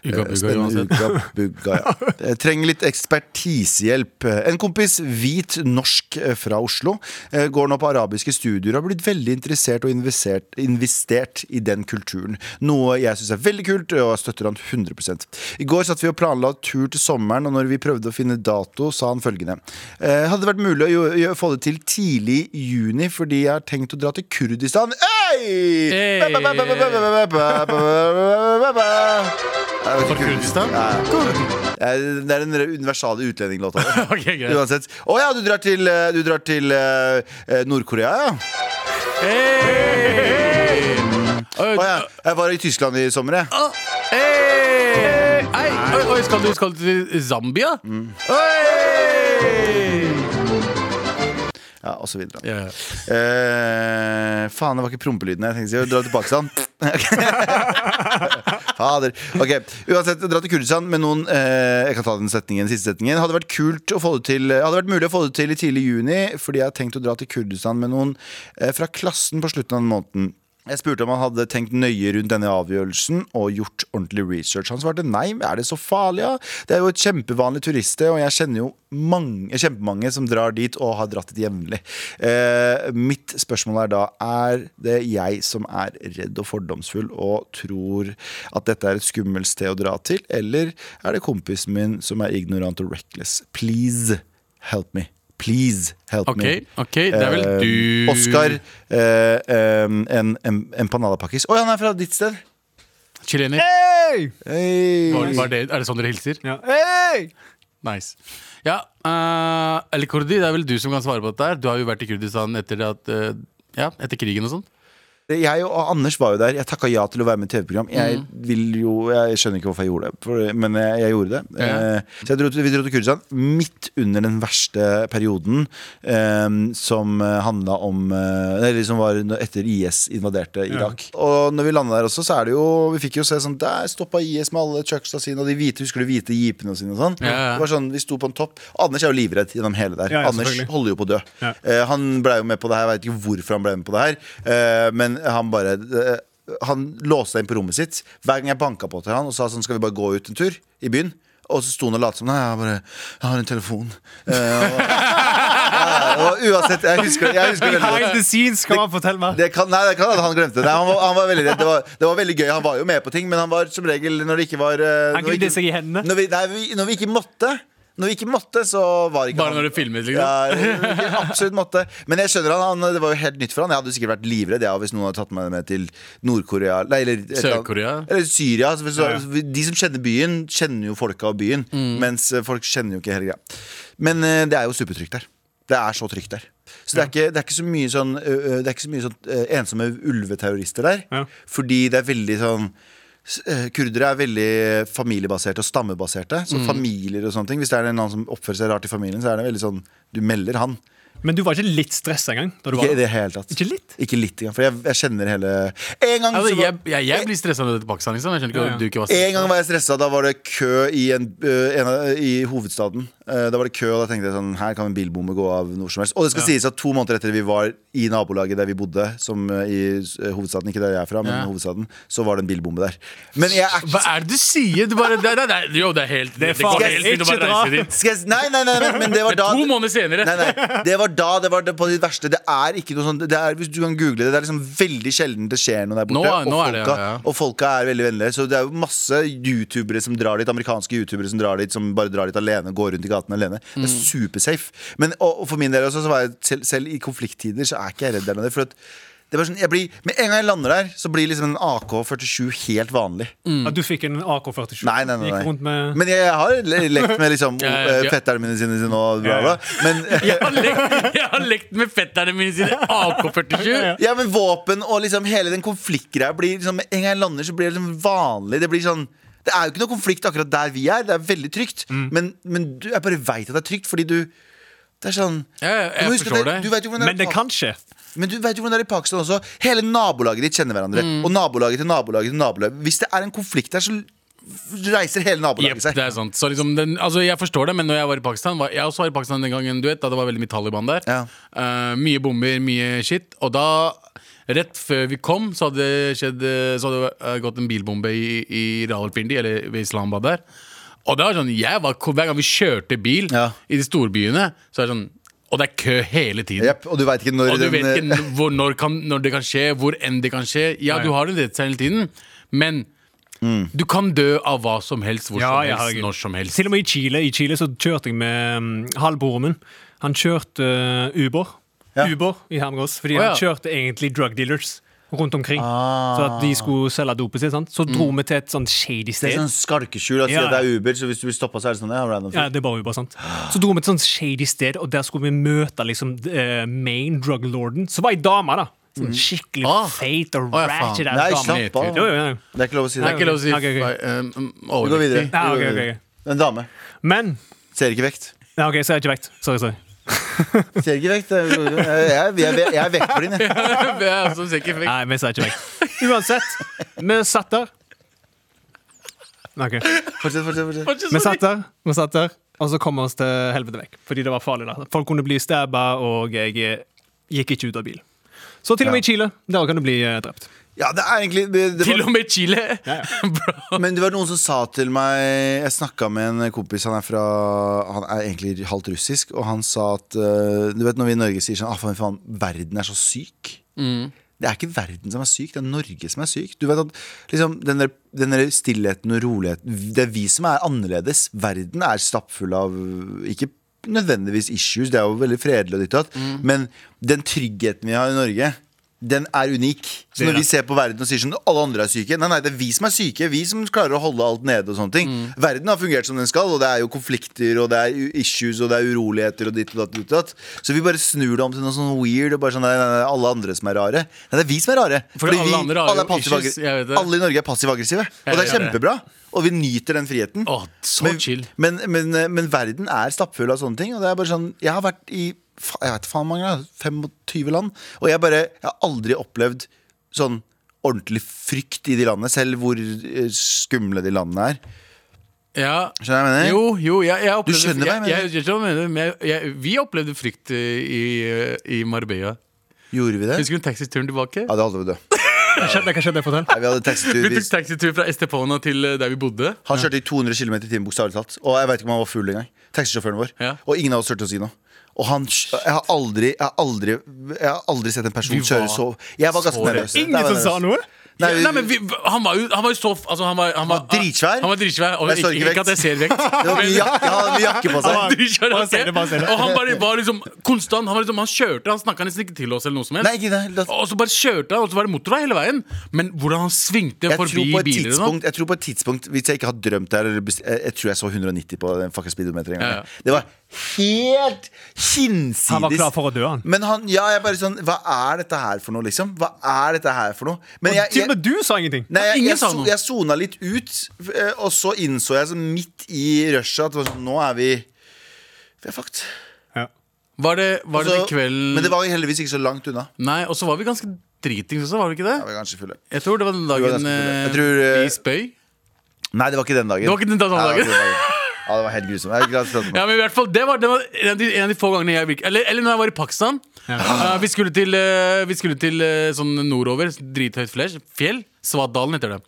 Speaker 3: Uka, uka,
Speaker 2: Eh, Spennende
Speaker 3: uansett.
Speaker 2: uka, bugga, ja. Jeg trenger litt ekspertisehjelp. En kompis, hvit norsk eh, fra Oslo, eh, går nå på arabiske studier og har blitt veldig interessert og investert, investert i den kulturen. Noe jeg syns er veldig kult, og jeg støtter han 100 I går satt vi og planla tur til sommeren, og når vi prøvde å finne dato, sa han følgende. Eh, Hadde det vært mulig å jo- gjø- få det til tidlig i juni, fordi jeg har tenkt å dra til Kurdistan. Hey!
Speaker 3: Hey!
Speaker 2: Fra
Speaker 3: Kurdistan?
Speaker 2: Det er den universale utlendinglåta.
Speaker 3: Ok, greit.
Speaker 2: Uansett. Å ja, du drar til, eh, du drar til eh, eh, Nord-Korea, ja?
Speaker 3: Hey!
Speaker 2: Å ja. Jeg var i Tyskland i sommer, jeg.
Speaker 3: Ah, Hey! Ei, oi, oi, skal, du, skal du til Zambia? Oi!
Speaker 2: Ja, og så videre.
Speaker 3: Ja, ja.
Speaker 2: Eh, faen, det var ikke prompelyden jeg tenkte å si. Dra til Pakistan. Fader. Ok, Uansett, dra til Kurdistan med noen eh, Jeg kan ta den setningen, siste setningen. Hadde vært kult å få det til eh, Hadde vært mulig å få det til i tidlig juni, fordi jeg har tenkt å dra til Kurdistan med noen eh, fra klassen på slutten av den måneden. Jeg spurte om han hadde tenkt nøye rundt denne avgjørelsen og gjort ordentlig research. Han svarte nei, men er det så farlig? Ja? Det er jo et kjempevanlig turiststed, og jeg kjenner jo mange, kjempemange som drar dit og har dratt dit jevnlig. Eh, mitt spørsmål er da er det jeg som er redd og fordomsfull og tror at dette er et skummelt sted å dra til, eller er det kompisen min som er ignorant og reckless? Please help me. Please help
Speaker 3: Ok,
Speaker 2: me.
Speaker 3: ok, det er vel
Speaker 2: Eh,
Speaker 3: du
Speaker 2: Oscar, eh, eh, en, en empanadapakkis. Å ja, han er fra ditt sted!
Speaker 3: Chilener.
Speaker 4: Hey!
Speaker 2: Hey.
Speaker 3: Var, var det, er det sånn dere hilser?
Speaker 4: Ja. Hey!
Speaker 3: Nice. Ja, eh, eller Kurdi, det er vel du som kan svare på dette. her Du har jo vært i Kurdistan etter at eh, Ja, Etter krigen og sånn.
Speaker 2: Jeg og Anders var jo der. Jeg takka ja til å være med i TV-program. Jeg
Speaker 3: Mm.
Speaker 2: vil jo, jeg skjønner ikke hvorfor jeg gjorde det, for, men jeg, jeg gjorde det.
Speaker 3: Ja.
Speaker 2: Eh, Så jeg dro til, vi dro til Kurdistan midt under den verste perioden eh, som eh, handla om eh, Eller som var no- etter IS invaderte Irak. Og når vi landa der også, så er det jo Vi fikk jo se sånn Der stoppa IS med alle chucksa sine, og de hvite husker de hvite jeepene sine og sånn.
Speaker 3: Ja, ja.
Speaker 2: Det var sånn, Vi sto på en topp. Anders er jo livredd gjennom hele der.
Speaker 4: Ja, ja,
Speaker 2: Anders
Speaker 4: selvfølgelig.
Speaker 2: holder jo på å dø.
Speaker 4: Ja.
Speaker 2: Eh, han ble jo med på det her, jeg vet ikke hvorfor han ble med på det her, eh, men han bare eh, Han låste seg inn på rommet sitt. Hver gang jeg banka på til han og sa sånn, skal vi bare gå ut en tur i byen? Og så sto han og lot som. Nei, jeg bare Jeg har en telefon. Eh, og, ja, og uansett, jeg husker, jeg husker veldig godt.
Speaker 4: skal man fortelle meg.
Speaker 2: Det kan, nei, det kan hende han glemte det. Nei, han, var, han var veldig redd. Det var, det var veldig gøy. Han var jo med på ting, men han var som regel når det ikke var eh, når
Speaker 4: Han
Speaker 2: vi
Speaker 4: gnidde
Speaker 2: ikke-
Speaker 4: seg i hendene.
Speaker 2: Når vi, nei, vi, når vi ikke måtte. Når vi ikke måtte, så var ikke han
Speaker 3: Bare når du filmet, liksom?
Speaker 2: Ja, ikke absolutt måtte. Men jeg skjønner han, han. Det var jo helt nytt for han. Jeg hadde jo sikkert vært livredd jeg, hvis noen hadde tatt meg med til Nord-Korea. Nei, eller et eller annet-
Speaker 3: Sør-Korea.
Speaker 2: Eller Syria. Så, så, De som kjenner byen, kjenner jo folka og byen. Mens eh, folk kjenner jo ikke hele greia. Men eh, det er jo supertrygt der. Det er så trygt der. Så det er ikke, det er ikke så mye sånn, ø, ø, det er ikke så mye sånn ø, ensomme ulveterrorister der.
Speaker 4: Ja.
Speaker 2: Fordi det er veldig sånn s- ø, Kurdere er veldig familiebaserte og stammebaserte. Så familier og sånne ting Hvis det er en annen som oppfører seg rart i familien, så er det veldig sånn Du melder han.
Speaker 4: Men du var ikke litt stressa engang? da du var
Speaker 2: Ikke i
Speaker 4: der?
Speaker 2: det hele tatt.
Speaker 4: Ikke litt?
Speaker 2: Ikke litt engang. For jeg, jeg kjenner hele En gang
Speaker 3: Altså,
Speaker 2: så var-
Speaker 3: jeg, jeg, jeg blir stressa når det er til Pakistan. Liksom. Jeg skjønner ikke
Speaker 4: Ja, ja.
Speaker 3: at du ikke var
Speaker 2: En
Speaker 3: stressa.
Speaker 2: gang var jeg stressa. Da var det kø i, en, øh, en av, i hovedstaden. Eh, Da var det kø, og da tenkte jeg sånn Her kan en bilbomme gå av når som helst. Og det skal sies at to måneder etter vi var i nabolaget der vi bodde, som eh, i eh, hovedstaden, ikke der jeg er fra, men
Speaker 3: Ja.
Speaker 2: hovedstaden, så var det en bilbomme der. Men jeg er
Speaker 3: Hva er det du sier? Du bare, nei, nei, nei, jo, det er helt Det, går
Speaker 4: farlig.
Speaker 3: helt fint å
Speaker 4: Ikke
Speaker 3: bare
Speaker 4: dra.
Speaker 3: reise dit.
Speaker 2: skal jeg, s- nei, nei, nei, nei, men det var
Speaker 3: Men
Speaker 2: da
Speaker 3: to måneder senere.
Speaker 2: Nei, nei, det var da det var det på sitt verste. Det er ikke noe sånn det er, Hvis du kan google det, det er liksom veldig sjelden det skjer noe der borte.
Speaker 3: Nå er- nå
Speaker 2: og,
Speaker 3: er det,
Speaker 2: folka,
Speaker 3: ja, ja.
Speaker 2: og folka er veldig vennlige. Så det er jo masse youtubere som drar dit, amerikanske youtubere som drar dit, som bare drar dit alene og går rundt i gaten alene. Det er
Speaker 3: Mm.
Speaker 2: supersafe. Men og, og for min del også, så var jeg selv, selv i konflikttider, så er ikke jeg redd der nede. For at det var sånn, jeg blir, Med en gang jeg lander der, så blir liksom en AK-47 helt vanlig.
Speaker 4: At du fikk en AK-47?
Speaker 2: Mm. Nei, nei, nei,
Speaker 4: Gikk rundt
Speaker 2: nei.
Speaker 4: med
Speaker 2: Men jeg har le- lekt med liksom
Speaker 3: Ja, ja, ja.
Speaker 2: eh, fetterne mine sine sine og bla, bla. Men
Speaker 3: Jeg har lekt, jeg har lekt med fetterne mine siden AK-47.
Speaker 2: Ja, men våpen og liksom hele den konfliktgreia blir liksom En gang jeg lander, så blir det liksom vanlig. Det blir sånn det er jo ikke noe konflikt akkurat der vi er. Det er veldig trygt.
Speaker 3: Mm.
Speaker 2: Men, men du, jeg bare veit at det er trygt, fordi du Det er sånn
Speaker 3: Ja, ja, jeg
Speaker 2: Du må huske at
Speaker 3: forstår
Speaker 2: det-
Speaker 3: det.
Speaker 2: Du vet jo hvordan det er
Speaker 4: Men det
Speaker 2: i
Speaker 4: kan skje.
Speaker 2: men du vet jo hvordan det er i Pakistan også. Hele nabolaget ditt kjenner hverandre.
Speaker 3: Mm.
Speaker 2: Og nabolaget til nabolaget til nabolaget. Hvis det er en konflikt der, så reiser hele
Speaker 3: Jep,
Speaker 2: nabolaget seg.
Speaker 3: det er sant. Så liksom den, altså jeg forstår det, men når jeg var i Pakistan var, Jeg også var i Pakistan den gangen, du vet, da det var veldig mye Taliban der.
Speaker 2: Ja.
Speaker 3: Eh, mye bomber, mye shit. Og da, rett før vi kom, så hadde det skjedd eh, Så hadde det eh, gått en bilbombe i, i Rawalpindi, eller ved Islamabad der. Og det var sånn, jeg var, Hver gang vi kjørte bil
Speaker 2: Ja.
Speaker 3: i de storbyene, så er det sånn Og det er kø hele tiden.
Speaker 2: Jep, og du veit ikke når
Speaker 3: Og du vet
Speaker 2: den- eh,
Speaker 3: ikke hvor, når, kan, når det kan skje, hvor enn det kan skje. Ja, du har en redsel hele tiden, men
Speaker 2: Mm.
Speaker 3: du kan dø av hva som helst, hvor som
Speaker 4: ja,
Speaker 3: helst,
Speaker 4: herregud.
Speaker 3: når som helst.
Speaker 4: Til og med i Chile, i Chile så kjørte jeg med um, halvbroren min. Han kjørte uh, Uber. Uber i Hermegås, fordi
Speaker 3: Å, ja.
Speaker 4: han kjørte egentlig drug dealers rundt omkring. Så at de skulle selge dopet sitt. Sant? Så
Speaker 3: Mm.
Speaker 4: dro vi til et sånt shady
Speaker 2: Ah. Det
Speaker 4: sted.
Speaker 2: er sånn skalkeskjul. Da, sier
Speaker 4: Ja,
Speaker 2: at det er Uber, så hvis du blir stoppa, så er det sånn. Ja, random.
Speaker 4: Ja, det er bare Uber, sant? Så dro vi til et sånt shady sted, og der skulle vi møte liksom eh, main drug lorden, som var ei dame, da. Sånn skikkelig
Speaker 3: Ah.
Speaker 4: feit og
Speaker 3: Å, ja, faen.
Speaker 4: ratchet
Speaker 2: Mm. Nei,
Speaker 4: ass dame.
Speaker 2: slapp av.
Speaker 4: Jo, jo, jo.
Speaker 2: Det er ikke lov å si
Speaker 3: Det
Speaker 2: det.
Speaker 3: er ikke lov å si
Speaker 4: Ok, ok.
Speaker 3: um, um,
Speaker 2: Vi går videre.
Speaker 3: overvektig.
Speaker 4: Ja,
Speaker 2: Vi går
Speaker 4: ok, ok,
Speaker 2: videre. En dame.
Speaker 4: Men
Speaker 2: Ser ikke vekt.
Speaker 4: ja, OK, så er jeg ikke vekt. Sorry, sorry.
Speaker 2: Ser ikke vekt. Jeg, jeg, jeg, jeg er vektblind, jeg.
Speaker 3: Ja, som altså sikkert fikk-
Speaker 4: Nei, vi sa ikke vekt. Uansett, vi satt der. Ok,
Speaker 2: Fortsett, fortsett. fortsett.
Speaker 4: Vi satt der, vi satt der og så kom vi oss til helvete vekk. Fordi det var farlig der. Folk kunne bli stabba, og jeg eh, gikk ikke ut av bil. Så til og med i Chile, der kan du bli eh, drept.
Speaker 2: Ja, det er egentlig det, det
Speaker 3: Til
Speaker 2: var,
Speaker 3: og med Chile!
Speaker 2: Men det var noen som sa til meg Jeg snakka med en kompis, han er fra Han er egentlig halvt russisk, og han sa at eh, Du vet når vi i Norge sier sånn ah, faen, faen, verden er så syk. Det er ikke verden som er syk, det er Norge som er syk. Du vet at liksom, den, der, den der stillheten og roligheten Det er vi som er annerledes. Verden er stappfull av Ikke nødvendigvis issues, det er jo veldig fredelig og ditt og datt, men den tryggheten vi har i Norge den er unik. Så
Speaker 3: Det er
Speaker 2: når vi
Speaker 3: det.
Speaker 2: ser på verden og sier sånn alle andre er syke Nei, nei, det er vi som er syke. Vi som klarer å holde alt nede og sånne ting.
Speaker 3: Mm.
Speaker 2: Verden har fungert som den skal, og det er jo konflikter og det er u- issues og det er uroligheter og ditt og datt. ditt og datt. Så vi bare snur det om til noe sånn weird og bare sånn nei, nei, nei, alle andre som er rare. Nei, det er vi som er rare.
Speaker 3: Fordi alle andre har
Speaker 2: alle, er
Speaker 3: jo
Speaker 2: passiv-
Speaker 3: issues, jeg vet det.
Speaker 2: alle i Norge er passiv-aggressive. Og det er
Speaker 3: Jeg vet det.
Speaker 2: kjempebra. Og vi nyter den friheten.
Speaker 3: Åh, så
Speaker 2: men,
Speaker 3: chill.
Speaker 2: Men, men, eh, men verden er stappfull av sånne ting. Og det er bare sånn, Jeg har vært i fa- jeg vet faen mange land, 25 land, og jeg, bare, jeg har aldri opplevd sånn ordentlig frykt i de landene, selv hvor eh, skumle de landene er.
Speaker 3: Ja.
Speaker 2: Skjønner du hva jeg mener?
Speaker 3: Jo, jo, jeg, jeg opplevde
Speaker 2: skjønner hva jeg mener.
Speaker 3: Jeg, jeg, skjønner hva jeg mener, men jeg, jeg, vi opplevde frykt eh, i, eh, i Marbella.
Speaker 2: Gjorde vi det?
Speaker 3: Husker du taxituren tilbake?
Speaker 2: Ja, det hadde vi det. Nei,
Speaker 4: Det kan skje det fortell.
Speaker 2: vi hadde taxitur.
Speaker 3: Vi tok
Speaker 2: Vi-
Speaker 3: taxitur fra Estepona til eh, der vi bodde.
Speaker 2: Han kjørte i 200 km i timen, bokstavelig talt. Og jeg vet ikke om han var full engang. Taxisjåføren vår.
Speaker 3: Ja.
Speaker 2: Og ingen av oss turte å si noe. Og han, jeg, har aldri, jeg, har aldri, jeg har aldri sett en person
Speaker 3: Vi
Speaker 2: kjøre så
Speaker 3: var
Speaker 2: Jeg var ganske
Speaker 3: så
Speaker 2: nervøs.
Speaker 3: redde.
Speaker 2: Jeg var
Speaker 4: Ingen som sa
Speaker 2: nervøs.
Speaker 4: noe?
Speaker 3: Nei,
Speaker 2: Nei, vi-
Speaker 3: Nei men vi, Han var jo han var jo så f- altså, han, var, han,
Speaker 2: var dritsvær.
Speaker 3: Han var dritsvær Og
Speaker 2: Jeg så
Speaker 3: ikke,
Speaker 2: ikke
Speaker 3: ikke
Speaker 2: vekt.
Speaker 3: at jeg ser vekt.
Speaker 2: Det var mye jakke, han hadde mye jakke på
Speaker 3: Han var
Speaker 2: seg.
Speaker 3: dritsvær,
Speaker 4: Bare
Speaker 3: ok?
Speaker 4: se det, bare se det.
Speaker 3: Og han bare var liksom konstant. Han, var liksom, han kjørte, han snakka nesten ikke til oss. eller noe som helst
Speaker 2: Nei, ikke det. La-
Speaker 3: Og så bare kjørte han, og så var det motorvei hele veien. Men hvordan han svingte
Speaker 2: Jeg tror,
Speaker 3: forbi
Speaker 2: på et
Speaker 3: biler og sånn.
Speaker 2: tidspunkt, jeg tror på et tidspunkt Hvis jeg ikke har drømt det her eller best- jeg, jeg tror jeg så 190 på den fucking speedometeren. en gang.
Speaker 3: Ja, ja.
Speaker 2: Det var helt hinsides.
Speaker 4: Han var klar for å dø, han.
Speaker 2: Men han, ja, jeg bare sånn Hva er dette her for noe, liksom? Hva er dette her for noe? Men jeg,
Speaker 4: Til og
Speaker 2: jeg,
Speaker 4: med du sa ingenting.
Speaker 2: nei, jeg,
Speaker 3: Ingen
Speaker 2: jeg,
Speaker 3: sa
Speaker 2: so-
Speaker 3: noe.
Speaker 2: jeg sona litt ut, eh, og så innså jeg sånn midt i rushet at det var sånn, nå er vi Vi er fucked.
Speaker 4: Ja.
Speaker 3: Var det, var det
Speaker 2: Og
Speaker 3: den
Speaker 2: så-
Speaker 3: kvelden
Speaker 2: Altså, Men det var heldigvis ikke så langt unna.
Speaker 3: Nei, og så var vi ganske dritings også, var vi ikke
Speaker 2: Jeg
Speaker 3: det?
Speaker 2: var kanskje fulle.
Speaker 3: Jeg tror det var den
Speaker 2: var ganske
Speaker 3: dagen
Speaker 2: fulle. Jeg
Speaker 3: eh,
Speaker 2: tror, eh,
Speaker 3: vi spøy.
Speaker 2: Nei, det var ikke den dagen.
Speaker 3: Det var ikke den dagen.
Speaker 2: Nei, det var ikke den dagen. Ja, det var helt grusomt. Jeg er glad for at-
Speaker 3: Ja, men i hvert fall, Det var, det var en, av de, en av de få gangene jeg virket Eller, eller når jeg var i Pakistan. Eh, vi skulle til, eh, vi skulle til eh, sånn nordover. Drithøyt flesh, fjell. Svatdalen heter det.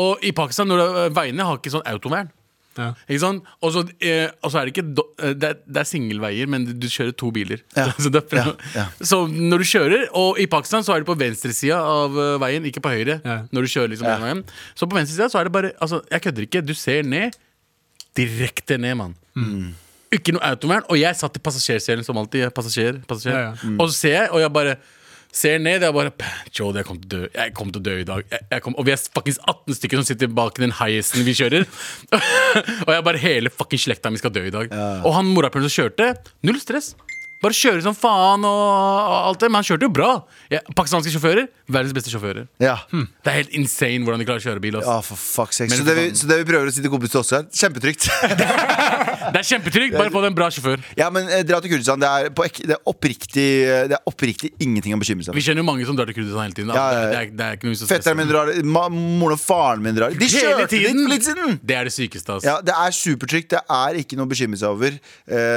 Speaker 3: Og i Pakistan, når det, eh, veiene har ikke sånn autovern.
Speaker 4: Ja.
Speaker 3: Ikke sant? Og så, eh, og så er det ikke do, eh, Det er, det er singelveier, men du, du kjører to biler. Så, det er fra-
Speaker 2: Ja, ja.
Speaker 3: så når du kjører Og i Pakistan så er det på venstresida av eh, veien, ikke på høyre.
Speaker 4: Ja.
Speaker 3: Når du kjører liksom den veien Så på venstresida så er det bare altså, Jeg kødder ikke. Du ser ned. Direkte ned, mann. Ikke noe autovern. Og jeg satt i passasjerselen som alltid. Passasjer, passasjer.
Speaker 4: Ja, ja.
Speaker 3: Og så ser jeg, og jeg bare Ser ned, jeg bare "Pah, Jode, jeg kommer til å dø. Jeg kommer til å dø i dag. Jeg, jeg kom, og vi er fuckings 18 stykker som sitter bak den highesten vi kjører. og jeg bare Hele fuckings slekta mi skal dø i dag. Og han morapuleren som kjørte, null stress. Bare kjører som faen og, og alt det. Men han kjørte jo bra. Jeg, pakistanske sjåfører, verdens beste sjåfører.
Speaker 2: Ja.
Speaker 3: Det er helt insane hvordan de klarer å kjøre bil. ass.
Speaker 2: Ja, for fuck's sake.
Speaker 3: Men
Speaker 2: Så det, vi,
Speaker 3: for faen.
Speaker 2: så det vi prøver å si til kompis til Oskar, kjempetrygt.
Speaker 3: Det er kjempetrygt. Bare få deg en bra sjåfør.
Speaker 2: ja, men eh, dra til Kurdistan. Det er, på, ek- det er, oppriktig, eh, det er oppriktig ingenting å bekymre seg
Speaker 3: Vi
Speaker 2: for.
Speaker 3: kjenner jo mange som drar til Kurdistan hele tiden. da.
Speaker 2: Ja, ja, ja.
Speaker 3: Det, er, det er ikke noe vits å stresse.
Speaker 2: Fetteren min drar, ma, moren og faren min drar. De
Speaker 3: Hele
Speaker 2: kjørte dit
Speaker 3: tiden.
Speaker 2: for litt siden!
Speaker 3: Det er det sykeste, altså.
Speaker 2: Ja, Det er supertrygt. Det er ikke noe å bekymre seg over. Eh,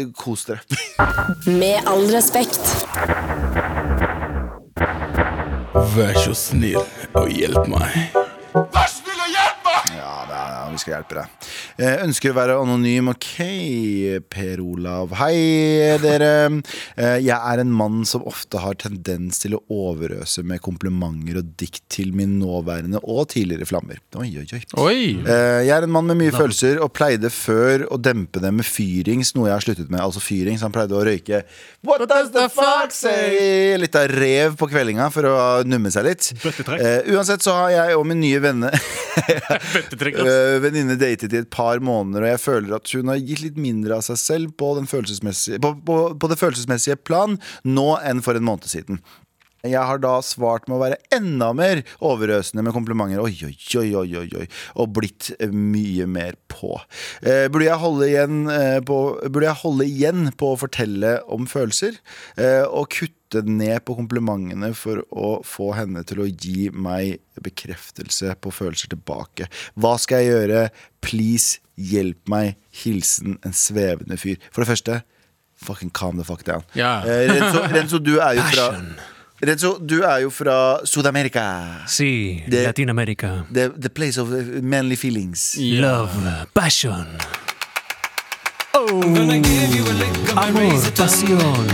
Speaker 2: eh, kos dere.
Speaker 5: Med all respekt.
Speaker 3: Vær så snill og hjelp meg.
Speaker 2: Ja, det er, ja, vi skal hjelpe deg. Eh, ønsker å være anonym. Ok, Per Olav. Hei, dere. Eh, jeg er en mann som ofte har tendens til å overøse med komplimenter og dikt til min nåværende og tidligere flammer. Oi, oi, oi.
Speaker 3: Oi!
Speaker 2: Eh, Jeg er en mann med mye følelser og pleide før å dempe det med fyrings, noe jeg har sluttet med. Altså fyrings, Han pleide å røyke What does the fuck say? Litt av rev på kveldinga for å numme seg litt.
Speaker 4: Bøttetrekk.
Speaker 2: Eh, uansett så har jeg og min nye venne
Speaker 3: Bøttetrekk, ass.
Speaker 2: eh, venninne datet i et par måneder, og jeg føler at hun har gitt litt mindre av seg selv på, den følelsesmessige, på, på, på det følelsesmessige plan nå enn for en måned siden. Jeg har da svart med å være enda mer overøsende med komplimenter Oi, oi, oi, oi, oi, oi og blitt eh, mye mer på. Eh, burde, jeg holde igjen, eh, på burde jeg holde igjen på å fortelle om følelser? Eh, og kutte ned på komplimentene for å få henne til å gi meg bekreftelse på følelser tilbake? Hva skal jeg gjøre? Please, hjelp meg. Hilsen en svevende fyr. For det første, fucking calm the fuck down.
Speaker 3: Ja.
Speaker 2: Eh, Renzo, Renzo, du er jo fra Renzo, du er jo fra Sud-Amerika.
Speaker 4: Si
Speaker 2: Det-
Speaker 4: Latin-Amerika.
Speaker 2: The, the place of eh, manly feelings.
Speaker 4: Love, passion. Oh, amor, passion.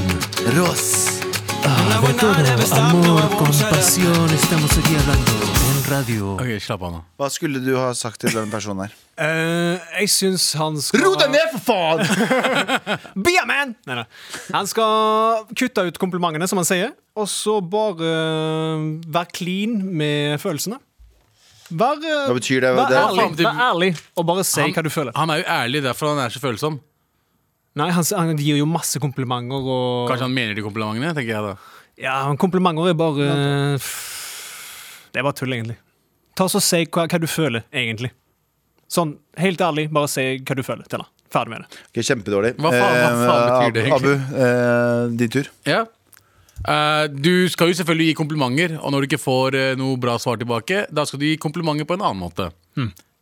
Speaker 2: Ross.
Speaker 3: Ok, slapp av nå.
Speaker 2: Hva skulle du ha sagt til denne personen her?
Speaker 4: Eh, jeg syns han skal
Speaker 2: Ro deg ned, for faen!
Speaker 4: Be a man! Nei, nei. Han skal kutte ut komplimentene, som han sier, og så bare eh, være clean med følelsene. Vær, eh,
Speaker 2: Hva betyr det?
Speaker 4: vær,
Speaker 2: Det-
Speaker 4: ærlig,
Speaker 3: Faen, det-
Speaker 4: vær ærlig, og bare si hva du føler.
Speaker 3: han er jo ærlig, derfor han er så følsom.
Speaker 4: Nei, han, han gir jo masse komplimenter, og
Speaker 3: Kanskje han mener de komplimentene, tenker jeg da.
Speaker 4: Ja, men komplimenter er bare Det er bare tull, egentlig. Ta så Si hva, hva du føler, egentlig. Sånn, helt ærlig, bare si hva du føler til henne. Ferdig med det.
Speaker 2: Ok, kjempedårlig.
Speaker 3: Hva faen- hva faen betyr det
Speaker 2: Eh, Abu, eh, din tur.
Speaker 3: Ja. Eh, du skal jo selvfølgelig gi komplimenter, og når du ikke får eh, noe bra svar tilbake, da skal du gi komplimenter på en annen måte.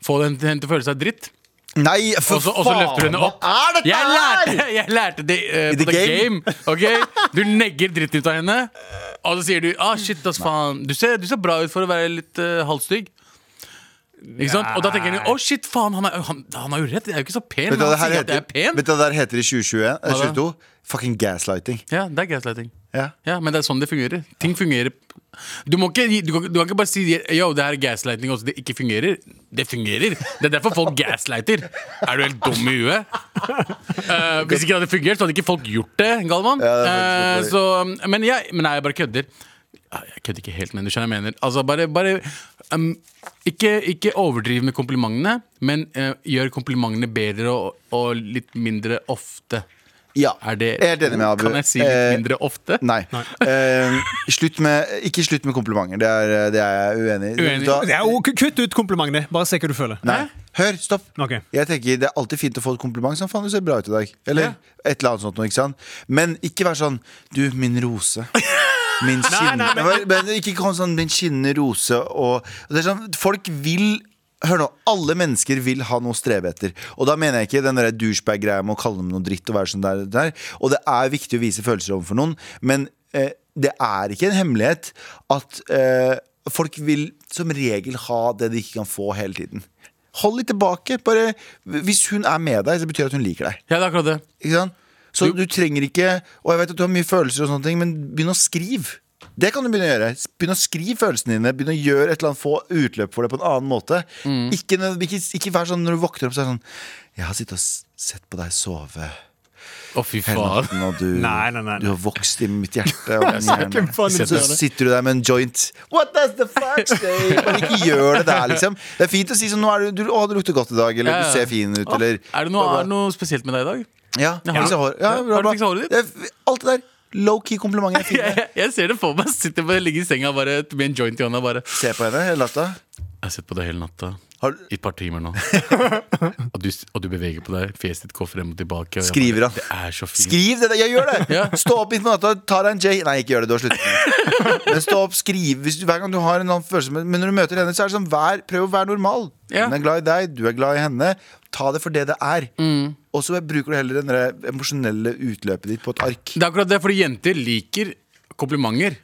Speaker 3: Få den til henne til å føle seg dritt,
Speaker 2: Nei, for
Speaker 3: og så og så
Speaker 2: faen!
Speaker 3: løfter du henne opp.
Speaker 2: Hva er dette
Speaker 3: Jeg lærte,
Speaker 2: her?!
Speaker 3: jeg lærte det eh,
Speaker 2: I
Speaker 3: på
Speaker 2: the
Speaker 3: The Game. ok? Du negger dritt ut av henne, og så sier du ah, shit, ass faen. Du ser, du ser bra ut for å være litt eh, halvstygg. Ikke sant? Og da tenker han jo å shit, faen, han, er, han, han har jo rett. Jeg er jo ikke så pen,
Speaker 2: Vet
Speaker 3: men
Speaker 2: du hva det
Speaker 3: han
Speaker 2: her
Speaker 3: sier at jeg
Speaker 2: heter,
Speaker 3: er pen.
Speaker 2: Vet du hva det her heter i 2021? Eh,
Speaker 3: Hva da?
Speaker 2: 2022? Fucking gaslighting.
Speaker 3: Ja, det er gaslighting.
Speaker 2: Ja.
Speaker 3: Ja, men det er sånn det fungerer. Ting fungerer Du, må ikke, gi- du, kan, du kan ikke bare si Yo, det her er gaslighting også, det ikke fungerer. Det fungerer! Det er derfor folk gaslighter. Er du helt dum i huet? Eh, hvis ikke det hadde fungert, så hadde ikke folk gjort det, Galvan.
Speaker 2: Ja, det er
Speaker 3: Eh,
Speaker 2: faktisk
Speaker 3: så, men, jeg, men nei, jeg bare kødder. Ja, Jeg kødder ikke helt, men du skjønner hva jeg mener. Altså, bare, bare um, ikke, ikke overdriv med komplimentene, men eh, gjør komplimentene bedre og, og litt mindre ofte.
Speaker 2: Ja.
Speaker 3: Er det,
Speaker 2: Jeg er helt enig med Abu.
Speaker 3: Kan jeg si litt
Speaker 2: Eh,
Speaker 3: mindre ofte?
Speaker 2: Nei. Eh, slutt med, ikke slutt med komplimenter. Det er, det er jeg uenig i.
Speaker 3: Uenig.
Speaker 2: Vet du hva?
Speaker 4: Det er jo- Kutt ut komplimentene. Bare si hva du føler.
Speaker 2: Nei. Hør, stopp.
Speaker 4: Ok.
Speaker 2: Jeg tenker Det er alltid fint å få et kompliment. Sånn, faen, du ser bra ut i dag. Eller et eller annet sånt noe, ikke sant? Men ikke vær sånn Du, min rose. Min skinn-
Speaker 4: nei, men-
Speaker 2: Nei, men Ikke kom sånn Min skinnende rose og, og det er sånn, Folk vil Hør nå, alle mennesker vil ha noe å strebe etter. Og da mener jeg ikke den der douchebag-greia med å kalle dem noe dritt. Og være sånn der, der Og det er viktig å vise følelser overfor noen, men eh, det er ikke en hemmelighet at eh, folk vil som regel ha det de ikke kan få hele tiden. Hold litt tilbake. Bare, hvis hun er med deg, så betyr det at hun liker deg.
Speaker 3: Ja, det er akkurat det.
Speaker 2: Ikke sant? Så du trenger ikke Og jeg vet at du har mye følelser, og sånne ting men begynn å skrive. Det kan du begynne å gjøre. Begynn å skrive følelsene dine. Begynn å gjøre et eller annet Få utløp for det på en annen måte.
Speaker 3: Mm.
Speaker 2: Ikke, nød- ikke, ikke vær sånn når du våkner opp så er det sånn Jeg har sittet og s- sett på deg sove
Speaker 3: Å, fy
Speaker 2: hele
Speaker 3: faen.
Speaker 2: natten, og du,
Speaker 4: Nei, nei, nei, nei.
Speaker 2: du har vokst i mitt hjerte. Og min
Speaker 4: Hvem
Speaker 2: hjerne.
Speaker 4: faen
Speaker 2: Så sitter du der med en joint. What does the fuck say? Bare ikke gjør det der, liksom. Det er fint å si sånn nå er du, du, 'Å, du lukter godt i dag', eller
Speaker 3: Ja, ja.
Speaker 2: 'du ser fin ut',
Speaker 3: Å,
Speaker 2: eller
Speaker 3: er, det noe, er det noe spesielt med deg i dag?
Speaker 2: ja,
Speaker 3: Ja.
Speaker 2: fikse hår. Ja,
Speaker 3: Har
Speaker 2: bra, bra.
Speaker 3: du fikset håret ditt?
Speaker 2: Det er- Alt det der. Low-key komplimenter er fine.
Speaker 3: Jeg, jeg ser det for meg. Sitter bare, ligger i senga bare, med en joint i hånda. Bare.
Speaker 2: Se på henne hele natta.
Speaker 3: Jeg har sett på deg hele natta.
Speaker 2: Har du-
Speaker 3: I et par timer nå. og, du, og du beveger på deg. Fjeset ditt går frem og tilbake. Og jeg
Speaker 2: Skriver han.
Speaker 3: bare, Det er så fint.
Speaker 2: Skriv det! der, Jeg gjør det!
Speaker 3: Ja.
Speaker 2: Stå opp midt på natta, ta deg en J. Nei, ikke gjør det. Du har sluttet med det. Men stå opp, skriv. Hvis du, hver gang du har en annen følelse Men men når du møter henne, så er det sånn vær, prøv å være normal.
Speaker 3: Ja.
Speaker 2: Hun er glad i deg, du er glad i henne. Ta det for det det er.
Speaker 3: Mm.
Speaker 2: Og så bruker du heller den der emosjonelle utløpet ditt på et ark.
Speaker 3: Det er akkurat det, fordi jenter liker komplimenter.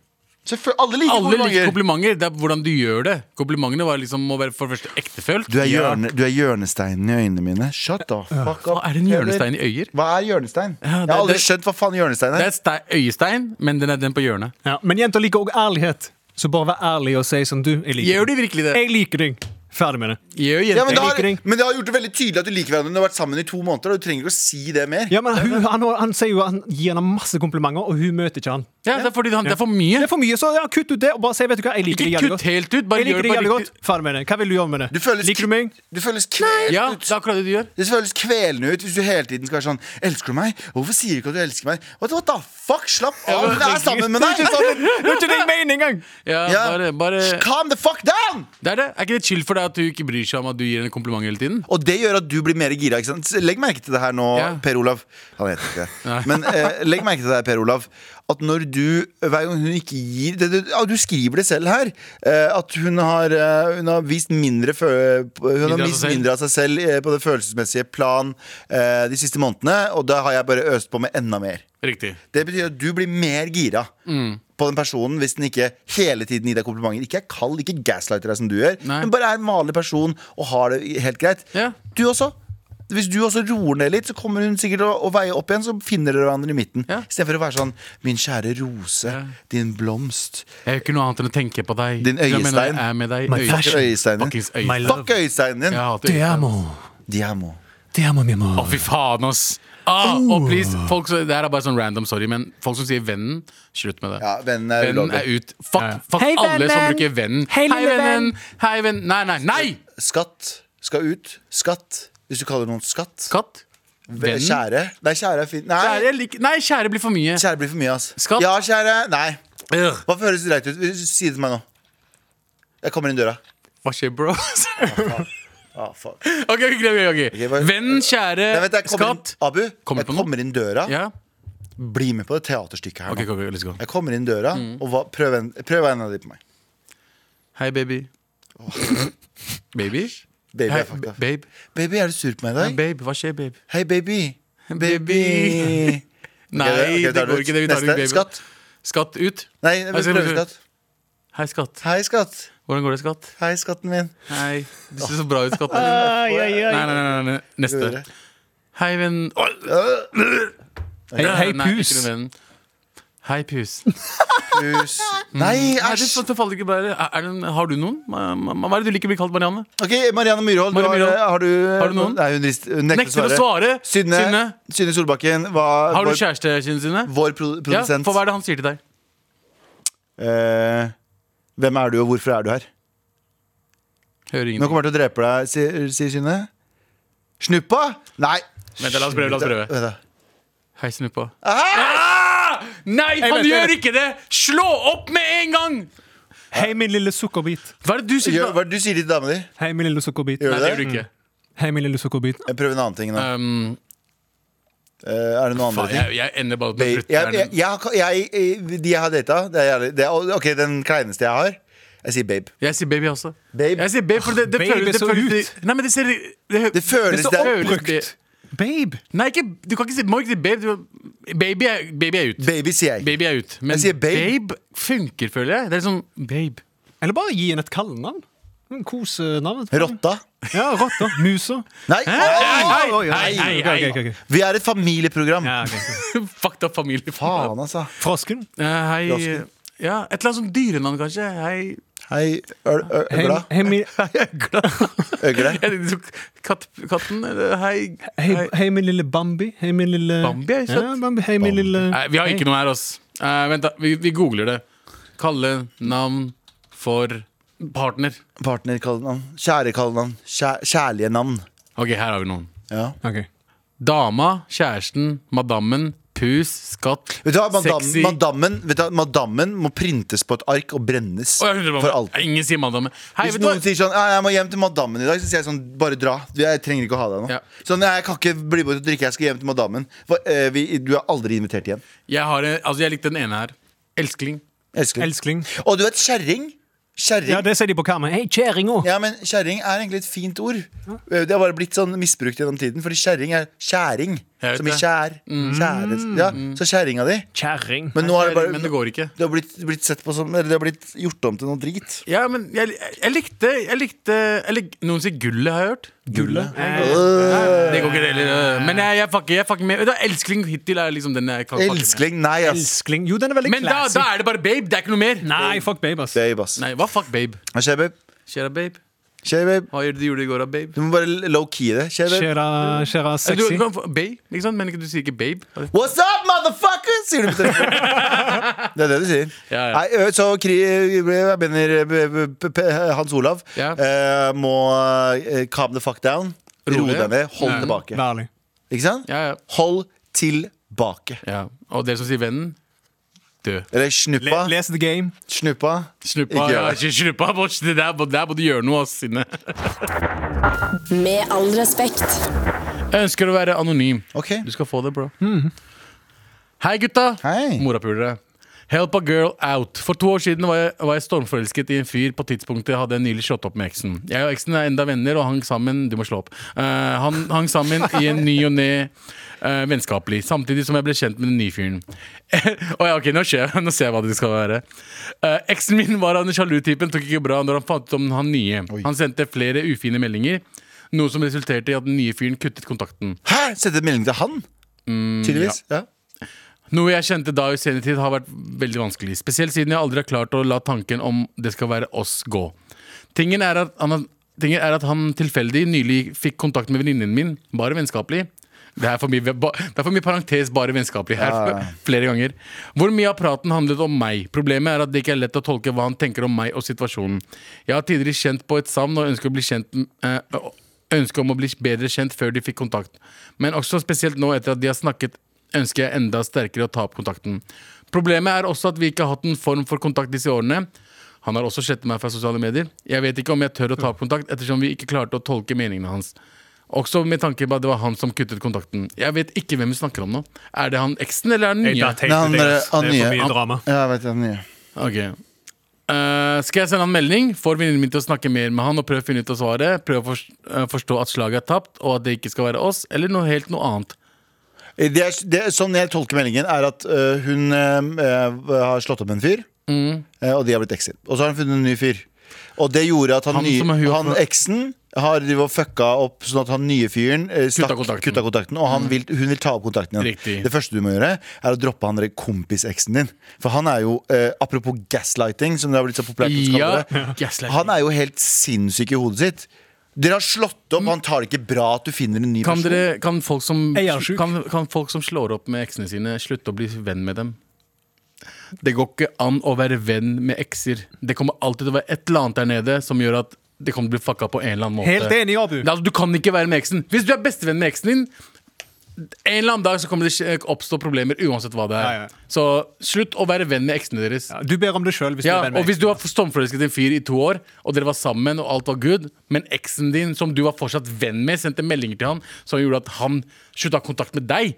Speaker 2: Selvfølgelig, Alle liker
Speaker 3: Alle liker
Speaker 2: komplimenter!
Speaker 3: komplimenter. Det er hvordan du gjør det. Komplimentene var liksom, må være for det første ektefølt.
Speaker 2: Du er, hjørne, du er hjørnesteinen i øynene mine. Shut the fuck up.
Speaker 3: Hva er en hjørnestein i øyer?
Speaker 2: Hva er hjørnestein?
Speaker 3: Ja, det-
Speaker 2: jeg har aldri
Speaker 3: det-
Speaker 2: skjønt hva faen hjørnestein
Speaker 3: Det
Speaker 2: er.
Speaker 3: er stei, øyestein, men den er den på hjørnet.
Speaker 4: Ja, men jenter liker òg ærlighet. Så bare vær ærlig og si som du. Jeg liker
Speaker 3: Gjør
Speaker 4: deg.
Speaker 3: de virkelig det?
Speaker 4: Jeg liker deg. Ferdig med det.
Speaker 3: Gjør
Speaker 2: Ja,
Speaker 3: jenter
Speaker 2: men, det
Speaker 4: Jeg
Speaker 2: har,
Speaker 4: liker deg.
Speaker 2: men det har gjort det veldig tydelig at du liker hverandre. Du har vært sammen i to måneder, og du trenger ikke å si det mer.
Speaker 4: Ja, men hun, han, han sier jo han gir henne masse komplimenter, og hun møter ikke han.
Speaker 3: ja, det, er fordi han, det er for
Speaker 4: Det
Speaker 3: mye.
Speaker 4: er for mye, så ja, kutt ut det, og bare si vet du hva, jeg liker deg
Speaker 3: Ikke
Speaker 4: jævlig
Speaker 3: kutt
Speaker 4: godt.
Speaker 3: helt ut. Bare
Speaker 4: Jeg
Speaker 3: gjør
Speaker 4: liker
Speaker 3: det
Speaker 4: deg
Speaker 3: på
Speaker 4: jævlig
Speaker 3: riktig.
Speaker 4: godt. Ferdig med det. Hva vil du gjøre med det?
Speaker 2: Du føles
Speaker 4: liker du meg?
Speaker 2: Du føles kvelt
Speaker 3: Ja,
Speaker 2: ut.
Speaker 3: det er akkurat det du gjør.
Speaker 2: Det føles kvelende ut hvis du hele tiden skal være sånn Elsker du meg? Hvorfor sier du ikke at du elsker meg? What, what the fuck? Slapp av! Hun er sammen med deg!
Speaker 4: Det er ikke din mening engang!
Speaker 3: Ja,
Speaker 2: Ja.
Speaker 3: Bare, bare,
Speaker 2: Calm the fuck down!
Speaker 3: det er, det. er ikke det chill for deg at du ikke bryr seg om at du gir henne kompliment hele tiden?
Speaker 2: Og det gjør at du blir mer gira. Ikke sant? Legg merke til det her nå,
Speaker 3: Ja.
Speaker 2: Per Olav. Han heter ikke det. Men eh, legg merke til det her, Per Olav. At når du Hver gang hun ikke gir det, det, ja, Du skriver det selv her. Eh, at hun har, eh, hun har vist mindre fø, Hun har
Speaker 3: av seg
Speaker 2: vist
Speaker 3: selv.
Speaker 2: mindre av seg selv eh, på det følelsesmessige plan eh, de siste månedene. Og da har jeg bare øst på med enda mer.
Speaker 3: Riktig.
Speaker 2: Det betyr at du blir mer gira
Speaker 3: Mm.
Speaker 2: på den personen hvis den ikke hele tiden gir deg komplimenter. Ikke er kald, ikke gaslighter deg som du gjør,
Speaker 3: Nei.
Speaker 2: men bare er en vanlig person og har det helt greit.
Speaker 3: Ja.
Speaker 2: Du også. Hvis du også roer ned litt, så kommer hun sikkert å, å veie opp igjen. Så finner dere hverandre i midten.
Speaker 3: Ja.
Speaker 2: I stedet for å være sånn Min kjære rose,
Speaker 3: Ja.
Speaker 2: din blomst.
Speaker 3: Jeg gjør ikke noe annet enn å tenke på deg.
Speaker 2: Din
Speaker 3: Jeg mener,
Speaker 2: øyestein.
Speaker 3: Jeg er med deg.
Speaker 4: My
Speaker 3: Øy-
Speaker 4: fashion.
Speaker 2: Øyesteinen.
Speaker 3: Fuckings øyestein.
Speaker 4: My love.
Speaker 2: Fuck øyesteinen din!
Speaker 3: Jeg hater
Speaker 4: Te
Speaker 3: øyestein.
Speaker 4: amo.
Speaker 2: Diamo.
Speaker 4: Te amo, mi amor.
Speaker 3: Å, fy faen, ass! Ah,
Speaker 2: Oh.
Speaker 3: Og please, folk, som- det her er bare sånn random, sorry, men folk som sier 'vennen', slutt med det.
Speaker 2: Ja, vennen er
Speaker 3: vennen
Speaker 2: ulovlig.
Speaker 3: er ut. Fuck,
Speaker 4: Ja, ja.
Speaker 3: fuck
Speaker 4: Hei,
Speaker 3: alle som
Speaker 4: vennen!
Speaker 3: bruker 'vennen'.
Speaker 4: Hei, lille
Speaker 3: vennen! Hei, venn. Nei, nei, nei!
Speaker 2: Skatt skal ut. Skatt. Hvis du kaller noen skatt.
Speaker 3: Katt.
Speaker 2: Ve- Kjære. Nei, kjære er fint. Nei,
Speaker 3: Kjære,
Speaker 2: kjære,
Speaker 3: lik, nei, kjære blir for mye.
Speaker 2: blir for mye, ass.
Speaker 3: Skatt.
Speaker 2: Ja, kjære. Nei.
Speaker 3: Ugh.
Speaker 2: Hva høres dreit ut? Si det til meg nå. Jeg kommer inn døra.
Speaker 3: Hva skjer, bro?
Speaker 2: Ah, fuck.
Speaker 3: ok, ok, ok, ok.
Speaker 2: Ok, bare-
Speaker 3: Venn, kjære,
Speaker 2: Nei, vent, jeg kommer inn,
Speaker 3: skatt.
Speaker 2: Abu,
Speaker 3: Kommer
Speaker 2: jeg
Speaker 3: på noe?
Speaker 2: kommer inn døra.
Speaker 3: Ja?
Speaker 2: Bli med på det teaterstykket her
Speaker 3: Ok, Mm.
Speaker 2: nå.
Speaker 3: ok, ok, let's go.
Speaker 2: Jeg kommer inn døra, og hva, prøv, en, prøv en av de på meg.
Speaker 3: Hei, baby. baby?
Speaker 2: Baby,
Speaker 3: Hei,
Speaker 2: er fucked up.
Speaker 3: babe.
Speaker 2: baby, er du sur på meg i
Speaker 3: Ja,
Speaker 2: dag?
Speaker 3: babe, hva skjer, babe?
Speaker 2: Hei, baby.
Speaker 3: Baby. Nei,
Speaker 2: Ok, ok,
Speaker 3: det
Speaker 2: tar
Speaker 3: går
Speaker 2: ut.
Speaker 3: ikke. det vi tar
Speaker 2: Neste.
Speaker 3: ut baby.
Speaker 2: Skatt.
Speaker 3: Skatt ut.
Speaker 2: Nei, jeg
Speaker 3: Hei,
Speaker 2: vil
Speaker 3: skal
Speaker 2: prøve
Speaker 3: vi-
Speaker 2: skatt.
Speaker 3: Hei, skatt.
Speaker 2: Hei, skatt.
Speaker 3: Hvordan går det, skatt?
Speaker 2: Hei, skatten min.
Speaker 3: Hei. Du ser så bra ut, skatten din. Nei, nei, nei, nei, nei.
Speaker 2: Videre.
Speaker 3: Neste. Hei, venn. Oi.
Speaker 4: Hei,
Speaker 3: Nei,
Speaker 4: hei,
Speaker 3: ikke
Speaker 4: pus.
Speaker 3: noe venn. Hei, pus.
Speaker 2: Pus. Nei, sånn-
Speaker 3: Nei, det,
Speaker 2: æsj.
Speaker 3: det faller ikke bare. Er, er det en, har du noen? Ma- ma- Hva er det du liker å bli kalt, Marianne?
Speaker 2: Ok, Marianne Myrhold, du
Speaker 3: Marianne
Speaker 2: har,
Speaker 3: Myrhold.
Speaker 2: har, du,
Speaker 3: Har du noen?
Speaker 2: Nei, hun rist- hun nekter,
Speaker 3: Nekter å svare.
Speaker 2: Synne, Synne.
Speaker 3: Synne.
Speaker 2: Solbakken var
Speaker 3: Har du
Speaker 2: vår,
Speaker 3: kjæreste, Synne?
Speaker 2: vår pro
Speaker 3: Ja,
Speaker 2: produsent.
Speaker 3: for hva er det han sier til deg?
Speaker 2: Eh, hvem er du, og hvorfor er du her?
Speaker 3: Hører
Speaker 2: Nå
Speaker 3: ingenting.
Speaker 2: kommer jeg til å drepe deg, sier, sier Synne. Snuppa? Nei!
Speaker 3: Vent, la oss prøve, la oss prøve.
Speaker 2: Vent da.
Speaker 3: Hei, snuppa.
Speaker 2: Ah!
Speaker 3: Ah! Nei, han
Speaker 4: vet
Speaker 3: gjør
Speaker 4: det.
Speaker 3: ikke det! Slå opp med en gang!
Speaker 4: Hei, min lille sukkerbit.
Speaker 3: Hva er det du sier?
Speaker 2: Gjør,
Speaker 3: til-
Speaker 2: hva er det du sier til dama di?
Speaker 4: Hei, min lille sukkerbit.
Speaker 2: Gjør
Speaker 3: Nei, det gjør
Speaker 2: du
Speaker 3: du
Speaker 2: det?
Speaker 3: ikke.
Speaker 4: Hei, min lille sukkerbit.
Speaker 2: Jeg prøver en annen ting nå.
Speaker 3: Um,
Speaker 2: Eh, er det noen andre
Speaker 3: faen,
Speaker 2: ting?
Speaker 3: jeg, jeg ender bare opp med
Speaker 2: Jeg, jeg, jeg, jeg,
Speaker 3: slutten.
Speaker 2: jeg, de jeg har data, det er jævlig det er, Ok, den kleineste jeg har. Jeg sier babe.
Speaker 3: Jeg sier baby også.
Speaker 2: Babe.
Speaker 3: Jeg sier babe, for det, det
Speaker 4: Babe
Speaker 3: føles
Speaker 4: er
Speaker 3: det
Speaker 4: så
Speaker 3: føles,
Speaker 4: ut.
Speaker 3: Nei, men det ser Det,
Speaker 2: Det føles
Speaker 3: så
Speaker 2: det er
Speaker 3: oppbrukt.
Speaker 2: oppbrukt.
Speaker 4: Babe!
Speaker 3: Nei, ikke, du kan ikke si, må ikke si babe. Du, baby, er, baby er ut.
Speaker 2: Baby sier jeg.
Speaker 3: Baby er ut. Men
Speaker 2: Jeg sier babe.
Speaker 3: funker, føler jeg. Det er sånn babe.
Speaker 4: Eller bare gi henne et kallenavn. En Kosenavn.
Speaker 2: Rotta.
Speaker 4: Ja, rotta. Musa.
Speaker 2: Nei! Åh!
Speaker 3: Hei, hei, hei, hei.
Speaker 4: Ok, ok, ok.
Speaker 2: Vi er et familieprogram.
Speaker 4: Ja, ok.
Speaker 3: Fucked up familie.
Speaker 2: Faen, altså.
Speaker 4: Frosken.
Speaker 3: Eh, hei
Speaker 2: Frosken.
Speaker 3: Ja, et eller annet sånn dyrenavn, kanskje. Hei
Speaker 2: Hei, øl- øl-
Speaker 4: Hei,
Speaker 2: øgla.
Speaker 4: hei, min-
Speaker 3: Øgla.
Speaker 2: Øgle.
Speaker 3: Jeg tenkte så katt, katten. eller Hei.
Speaker 4: hei, hei, min lille Bambi. Hei, min lille
Speaker 3: Bambi er søt.
Speaker 4: Ja, Bambi. Hei, min lille
Speaker 3: Nei, vi har ikke noe her, ass. Eh, vent, da. Vi, vi googler det. Kalle navn for partner.
Speaker 2: Partnerkallenavn. Kjærekallenavn. Kjæ kjærlige navn.
Speaker 3: Ok, her har vi noen.
Speaker 2: Ja.
Speaker 4: Ok.
Speaker 3: Dama, kjæresten, madammen, pus, skatt,
Speaker 2: Vet du hva, madam,
Speaker 3: sexy
Speaker 2: madammen, vet du, hva, madammen må printes på et ark og brennes.
Speaker 3: Å, jeg undrer meg om-
Speaker 2: for alt.
Speaker 3: Ingen sier madammen. Hei,
Speaker 2: Hvis
Speaker 3: vet du
Speaker 2: noen
Speaker 3: hva?
Speaker 2: sier sånn «Ja, 'Jeg må hjem til madammen i dag', så sier jeg sånn 'Bare dra'. Du, Jeg trenger ikke å ha deg nå.
Speaker 3: Ja.
Speaker 2: Sånn, «Nei, 'Jeg kan ikke bli med ut og drikke, jeg skal hjem til madammen'. Hva, eh, vi, du er aldri invitert igjen.
Speaker 3: Jeg, har, en- altså, jeg likte den ene her. Elskling.
Speaker 2: Elsker deg.
Speaker 4: Elskling.
Speaker 2: Og du vet, kjerring. Kjerring.
Speaker 4: Ja, det sier de på kameraet. Hei, kjerringa!
Speaker 2: Ja, men kjerring er egentlig et fint ord. Det har bare blitt sånn misbrukt gjennom tiden, fordi kjerring er kjæring.
Speaker 3: Jeg vet
Speaker 2: Som i
Speaker 3: det. Mm.
Speaker 2: kjær. Kjære. Ja, så kjerringa di.
Speaker 4: Kjerring.
Speaker 2: Men nå er det
Speaker 3: Men
Speaker 2: bare
Speaker 3: det går ikke.
Speaker 2: det har blitt, blitt sett på som Eller det har blitt gjort om til noe drit.
Speaker 3: Ja, men jeg, jeg likte, jeg likte jeg lik, Noen sier gullet, har jeg hørt.
Speaker 4: Gullet.
Speaker 2: Øh,
Speaker 3: Det går ikke det heller. Men jeg, jeg fucker jeg fucker med Vet du hva, Elskling hittil er liksom den jeg kan fucke med.
Speaker 2: Elskling, nei, ass.
Speaker 4: Elskling. Jo, den er veldig
Speaker 3: Men da,
Speaker 4: classy.
Speaker 3: da er det bare babe. Det er ikke noe mer.
Speaker 4: Nei, fuck babe, ass.
Speaker 2: Babe, ass.
Speaker 3: Nei, hva fuck babe?
Speaker 2: Hva skjer, babe?
Speaker 3: Kjære babe.
Speaker 2: Skjer, babe?
Speaker 3: Hva gjør du du gjorde i går, da, babe?
Speaker 2: Du må bare low-key det. Skjer, babe?
Speaker 4: Kjære, kjære
Speaker 3: Du,
Speaker 4: sexy.
Speaker 3: du kan få babe, ikke sant? Men ikke, du sier ikke babe.
Speaker 2: What's up, motherfucker? Sier du på telefonen. Det er det du sier.
Speaker 3: Ja, ja.
Speaker 2: Nei, ø, så kri, jeg mener p- p- p- Hans Olav
Speaker 3: Ja.
Speaker 2: eh, må eh, calm the fuck down. Ro
Speaker 3: Rolig.
Speaker 2: deg ned. Hold
Speaker 3: Ja.
Speaker 2: tilbake.
Speaker 4: Vær ærlig.
Speaker 2: Ikke sant?
Speaker 3: Ja, ja.
Speaker 2: Hold tilbake.
Speaker 3: ja. Og dere som sier vennen, død.
Speaker 2: Eller snuppa.
Speaker 4: Le- Les the game.
Speaker 2: Snuppa.
Speaker 3: Snuppa,
Speaker 2: Ikke
Speaker 3: ja,
Speaker 2: gjør det.
Speaker 3: ikke snuppa, boss. Det der, må- der må du gjøre noe, ass, Synne.
Speaker 5: Med all respekt.
Speaker 3: Jeg ønsker å være anonym.
Speaker 2: Ok.
Speaker 3: Du skal få det, bro. Hei, gutta.
Speaker 2: Mm. Hei.
Speaker 3: Morapulere. Help a girl out. For to år siden var jeg, var jeg stormforelsket i en fyr. På tidspunktet hadde jeg nylig slått opp med eksen. Jeg og eksen er enda venner og hang sammen Du må slå opp. Eh, han hang sammen i en ny og ne eh, vennskapelig, samtidig som jeg ble kjent med den nye fyren. Å ja, ok, nå, skjer, nå ser jeg hva det skal være. Eh, eksen min var av den sjalu typen, tok ikke bra når han fant ut om han nye. Han sendte flere ufine meldinger. Noe som resulterte i at den nye fyren kuttet kontakten.
Speaker 2: Hæ? Sendte en melding til han? Tydeligvis. Ja.
Speaker 3: Noe jeg kjente da i senere tid har vært veldig vanskelig. Spesielt siden jeg aldri har klart å la tanken om det skal være oss gå. Tingen er at han, tingen er at han tilfeldig nylig fikk kontakt med venninnen min, bare vennskapelig. Det er for mye, ba- det er for mye parentes, bare vennskapelig her. Flere ganger. Hvor mye av praten handlet om meg? Problemet er at det ikke er lett å tolke hva han tenker om meg og situasjonen. Jeg har tidligere kjent på et savn og ønsker å bli kjent eh, Ønske om å bli bedre kjent før de fikk kontakt. Men også spesielt nå etter at de har snakket ønsker jeg enda sterkere å ta opp kontakten. Problemet er også at vi ikke har hatt en form for kontakt disse årene. Han har også slettet meg fra sosiale medier. Jeg vet ikke om jeg tør å ta opp kontakt, ettersom vi ikke klarte å tolke meningene hans. Også med tanke på at det var han som kuttet kontakten. Jeg vet ikke hvem vi snakker om nå. Er det han eksen, eller er det den nye?
Speaker 2: Nei, han,
Speaker 4: det,
Speaker 2: eh, han
Speaker 4: det er
Speaker 2: nye-
Speaker 4: for mye
Speaker 2: han-
Speaker 4: drama.
Speaker 2: Ja, jeg vet det, han nye.
Speaker 3: Ok Eh, Skal jeg sende han melding? Får venninnen min til å snakke mer med han Og prøve å finne ut av svaret Prøve å fors- eh, forstå at slaget er tapt Og at det ikke skal være oss Eller noe helt noe annet
Speaker 2: Det er, det er, sånn jeg tolker meldingen, er at øh, hun øh, har slått opp med en fyr.
Speaker 3: Mm.
Speaker 2: øh, og de har blitt ekser. Og så har hun funnet en ny fyr. Og det gjorde at han,
Speaker 3: Han
Speaker 2: nye-
Speaker 3: som er hun-
Speaker 2: han eksen har drivet og fucka opp, sånn at han nye fyren øh, stakk, kutta,
Speaker 3: kontakten. Mm.
Speaker 2: kontakten. Og han vil, hun vil ta opp kontakten igjen.
Speaker 3: Riktig.
Speaker 2: Det første du må gjøre, er å droppe han derre kompiseksen din. For han er jo, øh, apropos gaslighting, som det har blitt så populært å kalle det.
Speaker 3: gaslighting.
Speaker 2: Han er jo helt sinnssyk i hodet sitt. Dere har slått opp, han tar det ikke bra at du finner en ny
Speaker 3: Mm. Kan,
Speaker 2: person.
Speaker 3: dere, kan, folk som,
Speaker 4: Jeg er sjuk.
Speaker 3: kan, kan folk som slår opp med eksene sine, slutte å bli venn med dem? Det går ikke an å være venn med ekser. Det kommer alltid til å være et eller annet der nede som gjør at det kommer til å bli fucka på en eller annen måte.
Speaker 4: Helt enig, Abu.
Speaker 3: Nei, altså, Du kan ikke være med eksen. Hvis du er bestevenn med eksen din, en eller annen dag så kommer det skje- oppstå problemer uansett hva det er.
Speaker 4: Ja, ja.
Speaker 3: Så slutt å være venn med eksene deres.
Speaker 4: Ja, du ber om det sjøl hvis
Speaker 3: Ja,
Speaker 4: du er venn
Speaker 3: og
Speaker 4: med
Speaker 3: hvis du har stormforelsket en fyr i to år, og dere var sammen, og alt var good, men eksen din, som du var fortsatt venn med, sendte meldinger til han som gjorde at han slutta kontakt med deg,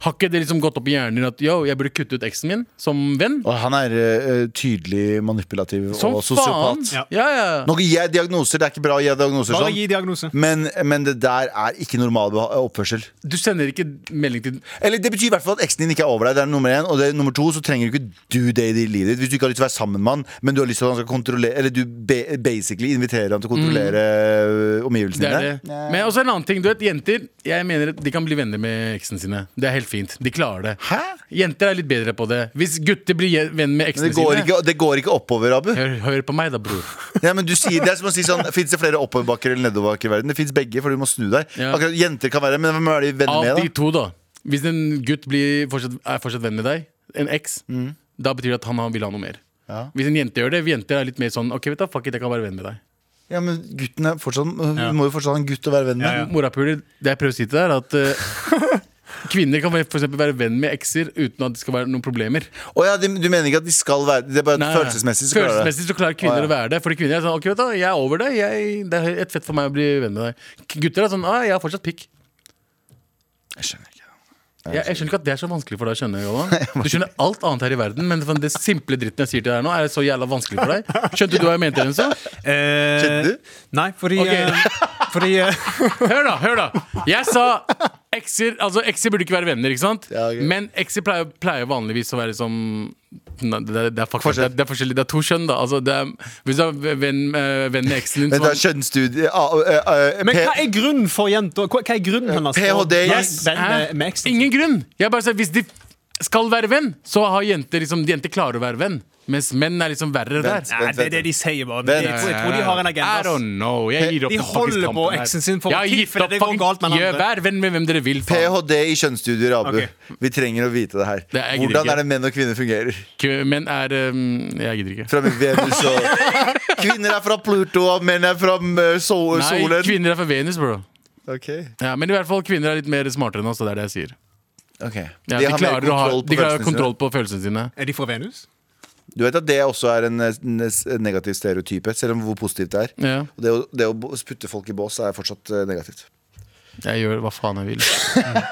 Speaker 3: har ikke det liksom gått opp i hjernen din at yo, jeg burde kutte ut eksen min som venn?
Speaker 2: Og han er eh, tydelig manipulativ
Speaker 3: Som
Speaker 2: og
Speaker 3: faen!
Speaker 2: sosiopat.
Speaker 3: Ja, ja.
Speaker 2: Nå gir jeg diagnoser, det er ikke bra å gi diagnoser
Speaker 4: Bare
Speaker 2: sånn.
Speaker 4: gi diagnose.
Speaker 2: Men, men det der er ikke normal beha- oppførsel.
Speaker 3: Du sender ikke melding til
Speaker 2: Eller Det betyr i hvert fall at eksen din ikke er over deg. Det er nummer én, Og det er nummer to, så trenger du ikke do date i livet ditt hvis du ikke har lyst til å være sammen med han, men du har lyst til at han skal kontrollere Eller du ba- basically inviterer han til å kontrollere øh, omgivelsene
Speaker 3: Mm. Det er det.
Speaker 2: dine.
Speaker 3: Men også en annen ting, du vet, jenter Jeg mener at de kan bli venner med eksen sine. Det er helt fint. De klarer det.
Speaker 2: Hæ?
Speaker 3: Jenter er litt bedre på det. Hvis gutter blir je- venn
Speaker 2: Men
Speaker 3: med eksene
Speaker 2: det går,
Speaker 3: sine
Speaker 2: ikke, det går ikke oppover, Abu.
Speaker 3: hør, hør på meg da, bror.
Speaker 2: Ja, men du sier, det er som å si sånn Fins det flere oppoverbakker eller nedoverbakker i verden? Det fins begge, for du må snu deg.
Speaker 3: Ja.
Speaker 2: Akkurat Jenter kan være det, men hvem er de venner
Speaker 3: Av
Speaker 2: med, da?
Speaker 3: de to, da. Hvis en gutt blir fortsatt, er fortsatt venn med deg, en eks,
Speaker 2: Mm.
Speaker 3: da betyr det at han har- vil ha noe mer.
Speaker 2: Ja.
Speaker 3: Hvis en jente gjør det, vi jenter er litt mer sånn Ok, vet du, hva, fuck it, jeg kan være venn med deg.
Speaker 2: Ja, men gutten er fortsatt, Vi må jo fortsatt ha en gutt å være venn med.
Speaker 4: Ja, ja.
Speaker 3: Morapuler, det jeg prøver å si til deg, er at eh, kvinner kan for eksempel være venn med ekser uten at det skal være noen problemer.
Speaker 2: Å ja, de, du mener ikke at de skal være Det er bare at
Speaker 3: Nei, nei.
Speaker 2: følelsesmessig så klarer det.
Speaker 3: Følelsesmessig så klarer
Speaker 2: Å,
Speaker 3: kvinner
Speaker 2: ja.
Speaker 3: å være det. Fordi kvinner er sånn Ok, vet du, hva, jeg er over det. Jeg, det er et fett for meg å bli venn med deg. K- Gutter er sånn ah, Jeg har fortsatt pikk.
Speaker 2: Jeg skjønner ikke.
Speaker 3: Jeg, jeg skjønner ikke at det er så vanskelig for deg å skjønne. Galvan. Du skjønner alt annet her i verden, men for den simple dritten jeg sier til deg nå, er så jævla vanskelig for deg. Skjønte du hva jeg mente? Renzo?
Speaker 4: Eh,
Speaker 2: Skjønte du?
Speaker 4: Nei, fordi,
Speaker 3: Ok.
Speaker 4: eh, fordi eh,
Speaker 3: Hør, da! hør da Jeg sa ekser altså ekser burde ikke være venner, ikke sant?
Speaker 2: Ja, ok.
Speaker 3: Men ekser pleier, pleier vanligvis å være som Nei, det, er- det, er faktisk, det, er- det er forskjellig. Det er to kjønn, da. Altså, det er, hvis du er venn, eh, venn med eksen din
Speaker 2: Men
Speaker 3: som
Speaker 2: det
Speaker 3: er-
Speaker 2: er kjønnsstudie ah, eh, eh,
Speaker 4: Men hva
Speaker 2: P-
Speaker 4: er grunnen for jenter? Hva, hva er grunnen hennes?
Speaker 2: PhD i-
Speaker 4: Yes, venn
Speaker 3: Hæ?
Speaker 4: med- med eksen.
Speaker 3: Ingen grunn! Jeg bare sier, Hvis de skal være venn, så har jenter liksom, jenter klarer å være venn. Mens menn er liksom verre der.
Speaker 2: Vent.
Speaker 4: Nei, det er det de sier, bare.
Speaker 2: Vent.
Speaker 4: Jeg tror, jeg tror de har en agenda.
Speaker 3: I don't know. Jeg gir opp
Speaker 4: De
Speaker 3: den
Speaker 4: holder
Speaker 3: fuckings
Speaker 4: på
Speaker 3: kampen her.
Speaker 4: eksen sin for
Speaker 3: Jeg har
Speaker 4: å ti,
Speaker 3: gitt
Speaker 4: fordi
Speaker 3: opp
Speaker 4: det går
Speaker 3: fucking-
Speaker 4: galt med den
Speaker 3: Gjør-
Speaker 4: andre.
Speaker 3: Vær venn med hvem dere vil. Faen.
Speaker 2: PhD i kjønnsstudier, Abu.
Speaker 4: Ok.
Speaker 2: Vi trenger å vite det her.
Speaker 3: Det er- jeg gidder
Speaker 2: Hvordan
Speaker 3: ikke.
Speaker 2: er det menn og kvinner fungerer?
Speaker 3: K- Menn er um, Jeg gidder ikke.
Speaker 2: Fra Venus og Kvinner er fra Pluto, og menn er fra eh, sol,
Speaker 3: Nei,
Speaker 2: solen.
Speaker 3: kvinner er fra Venus, bro.
Speaker 2: Ok,
Speaker 3: Ja, men i hvert fall kvinner er litt mer smartere enn oss. Det er det jeg sier.
Speaker 2: Ok.
Speaker 3: Ja, de,
Speaker 2: har mer
Speaker 3: klarer å ha, de klarer å ha
Speaker 2: følelsene
Speaker 3: kontroll på følelsene sine.
Speaker 4: Er de fra Venus?
Speaker 2: sine. Du vet at det også er en, eh, en eh, negativ stereotype, selv om hvor positivt det er.
Speaker 3: Ja,
Speaker 2: Og Det å, det å bo- putte folk i bås er fortsatt eh, negativt.
Speaker 3: jeg gjør hva faen jeg vil.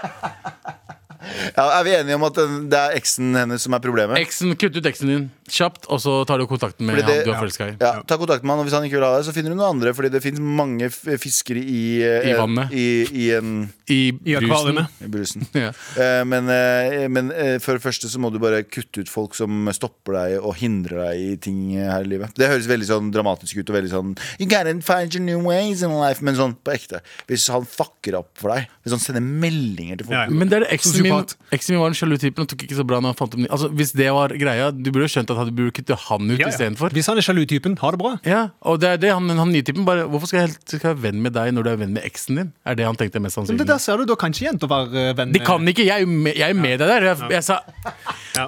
Speaker 2: Ja, er vi enige om at eh, det er eksen hennes som er problemet?
Speaker 3: Eksen, Kutt ut eksen din. kjapt, og så tar du kontakten med
Speaker 2: Fordi det-
Speaker 3: han du er forelska i.
Speaker 2: Ja, ta kontakt med han, og hvis han ikke vil ha deg, så finner du noen andre. Fordi det fins mange f- fiskere i eh,
Speaker 3: I vannet.
Speaker 2: I, i, en,
Speaker 3: I
Speaker 4: I
Speaker 3: brusen.
Speaker 4: akvariet.
Speaker 2: i brusen.
Speaker 3: Ja.
Speaker 2: Eh, Men, eh, men eh, for det første så må du bare kutte ut folk som stopper deg og hindrer deg i ting eh, her i livet. Det høres veldig sånn dramatisk ut og veldig sånn You gotta find your new ways in life. Men sånn på ekte. Hvis han fucker opp for deg, hvis han sender meldinger til folk
Speaker 4: Ja, ja.
Speaker 3: Men det er det eksen min
Speaker 4: Sosiopat.
Speaker 3: Eksen min var den sjalu typen og tok ikke så bra når han fant opp ny Altså, Hvis det var greia, du burde jo skjønt at du burde kutte han ut
Speaker 4: Ja, ja.
Speaker 3: istedenfor.
Speaker 4: Hvis han er sjalu-typen, ha det bra.
Speaker 3: Ja, og det er det han, han nye typen bare Hvorfor skal jeg, helt, skal jeg være venn med deg når du er venn med eksen din? Er det han tenkte mest
Speaker 4: Men
Speaker 3: sannsynlig.
Speaker 4: det der ser du, Da kan ikke jenter være eh, venn
Speaker 3: de kan ikke! Jeg er jo med, jeg er med deg der. Jeg, jeg sa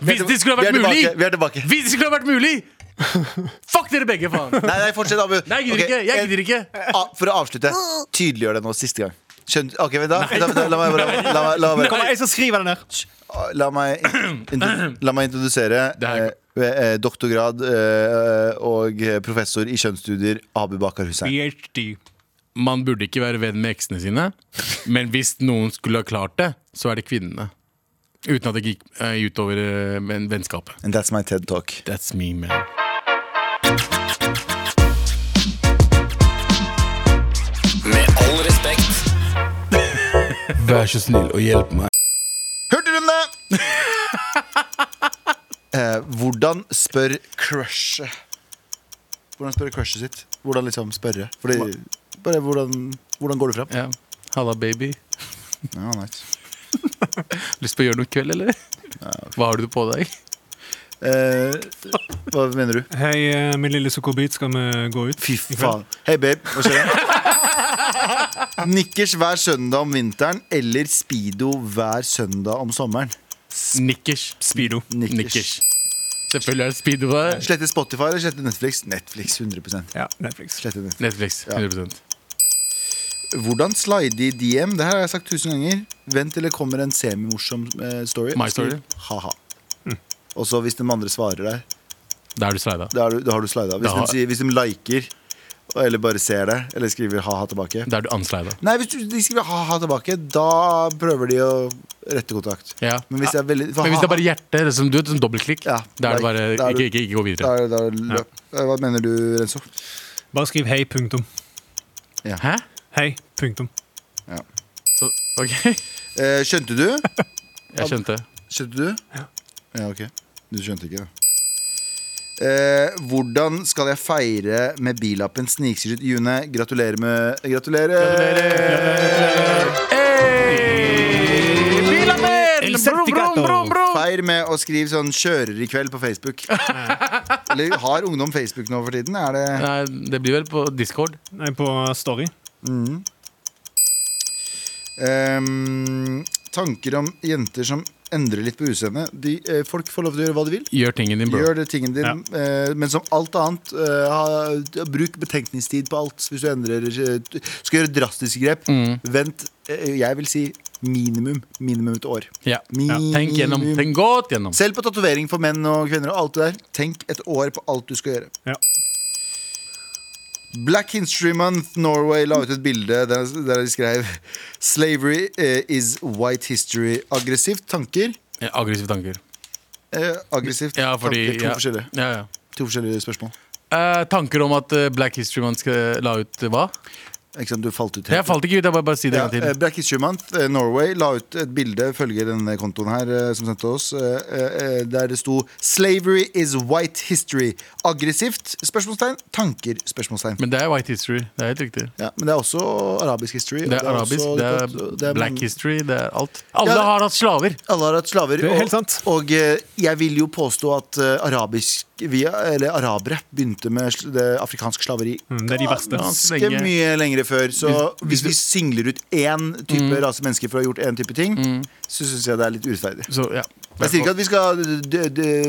Speaker 3: Hvis det skulle ha
Speaker 2: Vi er
Speaker 3: vært mulig!
Speaker 2: tilbake. Vi er tilbake.
Speaker 3: Hvis det skulle ha vært mulig! Fuck dere begge, faen!
Speaker 2: Nei, nei, fortsett, Abu.
Speaker 3: Nei, jeg gidder
Speaker 2: Ok,
Speaker 3: ikke!
Speaker 2: en-
Speaker 3: Jeg gidder ikke.
Speaker 2: Ah, for å avslutte, tydeliggjør det nå siste gang. Skjønner, ok, vent da, da, da la meg bare La meg, la meg,
Speaker 4: Kom,
Speaker 2: bare-
Speaker 4: jeg skal skrive den der.
Speaker 2: la meg, introdu- la meg introdusere
Speaker 3: Det her-
Speaker 2: eh, eh, doktorgrad eh, og professor i kjønnsstudier Abu Bakar Hussein.
Speaker 4: PhD.
Speaker 3: Man burde ikke være venn med eksene sine, men hvis noen skulle ha klart det, så er det kvinnene. Uten at det gikk eh, utover eh, venn- vennskapet.
Speaker 2: And that's my TED talk.
Speaker 3: That's me, man.
Speaker 6: Med all respekt.
Speaker 3: Vær så snill og hjelp meg.
Speaker 2: Hørte du om det? eh, hvordan spør crushet? Hvordan spør crushet sitt? Hvordan liksom spørre? Fordi, bare hvordan, hvordan går du fram?
Speaker 3: Ja. Halla, baby.
Speaker 2: Ja, nice.
Speaker 3: Lyst på å gjøre noe i kveld, eller? Hva har du på deg?
Speaker 2: eh, hva mener du?
Speaker 4: Hei, eh, min lille sukkerbit, skal vi gå ut?
Speaker 2: Fy faen. Hei, babe. Hva skjer? Nikkers hver søndag om vinteren eller Speedo hver søndag om sommeren.
Speaker 3: Nikkers.
Speaker 4: Speedo.
Speaker 2: Nikkers.
Speaker 3: Nikkers. Selvfølgelig er det speedo der.
Speaker 2: Slette Spotify eller slette Netflix? Netflix 100
Speaker 4: Ja, Netflix.
Speaker 2: Slette Netflix.
Speaker 3: Netflix. 100
Speaker 2: Hvordan slide i DM? Det her har jeg sagt tusen ganger. Vent til det kommer en semimorsom eh, story.
Speaker 3: My story. Mm.
Speaker 2: Ha-ha. Og så hvis den andre svarer der,
Speaker 3: Da er du slida.
Speaker 2: da, er du, da har du slida. Hvis,
Speaker 3: Da har-
Speaker 2: de sier- hvis de liker, eller bare ser det, eller skriver ha-ha tilbake
Speaker 3: Da er du unslida.
Speaker 2: Nei, hvis du- de skriver ha-ha tilbake, da prøver de å rette kontakt.
Speaker 3: Ja.
Speaker 2: Men hvis det er veldig for
Speaker 3: Men hvis det er
Speaker 2: ha-ha-
Speaker 3: bare hjerte, det er som, du vet, sånn dobbeltklikk,
Speaker 2: Ja,
Speaker 3: da er det bare
Speaker 2: da er du-
Speaker 3: ikke, ikke, ikke gå
Speaker 2: da
Speaker 3: videre.
Speaker 2: er det- da er det løp. Eh, Hva mener du, Renzo?
Speaker 4: Bare skriv hei, punktum.
Speaker 3: Hæ?
Speaker 4: Hei, punktum.
Speaker 3: Så, ok,
Speaker 2: Eh, skjønte du?
Speaker 3: jeg skjønte.
Speaker 2: Skjønte du? Ja. ok. Du skjønte ikke, da. Eh, hvordan skal jeg feire med billappen snikskryt i juni? Gratulerer med Gratulerer!
Speaker 4: El certificato.
Speaker 2: Feir med å skrive sånn 'kjører i kveld' på Facebook. Eller har ungdom Facebook nå for tiden? Er det
Speaker 3: Nei, det blir vel på Discord.
Speaker 4: Nei, på Story.
Speaker 2: Ehm, Tanker om jenter som endrer litt på utseendet. De, eh, folk får lov til å gjøre hva de vil.
Speaker 3: Gjør tingen din, bro.
Speaker 2: Gjør det tingen din,
Speaker 4: Ja.
Speaker 2: eh, men som alt annet eh, ha, Bruk betenkningstid på alt hvis du endrer eh, t- Skal gjøre drastiske grep.
Speaker 3: Mm.
Speaker 2: Vent, eh, jeg vil si minimum minimum et år.
Speaker 3: Ja.
Speaker 2: Ja.
Speaker 3: Tenk gjennom. Tenk godt gjennom.
Speaker 2: Selv på tatovering for menn og kvinner og alt det der. Tenk et år på alt du skal gjøre.
Speaker 4: Ja.
Speaker 2: Black History Month Norway la ut et bilde der, der de skrev Slavery eh, is white history. Aggressivt tanker.
Speaker 3: Ja, Aggressive tanker.
Speaker 2: Eh, aggressivt
Speaker 3: Ja, fordi
Speaker 2: tanker. To,
Speaker 3: ja.
Speaker 2: forskjellige,
Speaker 3: Ja, ja.
Speaker 2: to forskjellige spørsmål.
Speaker 3: Eh, tanker om at eh, Black History Month skal- la ut eh, hva?
Speaker 2: Ikke sant, du falt ut helt.
Speaker 3: Jeg falt ikke ut, jeg bare, bare si det
Speaker 2: Ja,
Speaker 3: en gang
Speaker 2: eh,
Speaker 3: til.
Speaker 2: Black History Month eh, Norway la ut et bilde, følger denne kontoen her, eh, som sendte oss, eh, eh, der det sto 'Slavery is white history'. Aggressivt? Spørsmålstegn. Tanker? Spørsmålstegn.
Speaker 3: Men det er white history. Det er helt riktig.
Speaker 2: Ja, men det er også arabisk history. og
Speaker 3: Det er arabisk,
Speaker 2: også-
Speaker 3: det
Speaker 2: det
Speaker 3: er
Speaker 2: det er
Speaker 3: black
Speaker 2: mange-
Speaker 3: history, det er alt. Alle
Speaker 2: Ja.
Speaker 3: har hatt slaver.
Speaker 2: Alle har hatt slaver.
Speaker 4: er
Speaker 2: og-
Speaker 4: helt sant.
Speaker 2: Og eh, jeg vil jo påstå at eh, arabisk, vi, eller arabere begynte med sl- det afrikanske slaveri
Speaker 4: Mm, det er de verste.
Speaker 3: Ganske
Speaker 2: ganske
Speaker 3: lenge.
Speaker 2: mye lengre før. Så
Speaker 3: hvis
Speaker 2: hvis vi singler ut én type
Speaker 4: Mm.
Speaker 2: rase mennesker for å ha gjort én type ting,
Speaker 3: Mm.
Speaker 2: så syns jeg det er litt urettferdig.
Speaker 3: Så, ja.
Speaker 2: Jeg sier ikke at vi skal eh, d- d- d-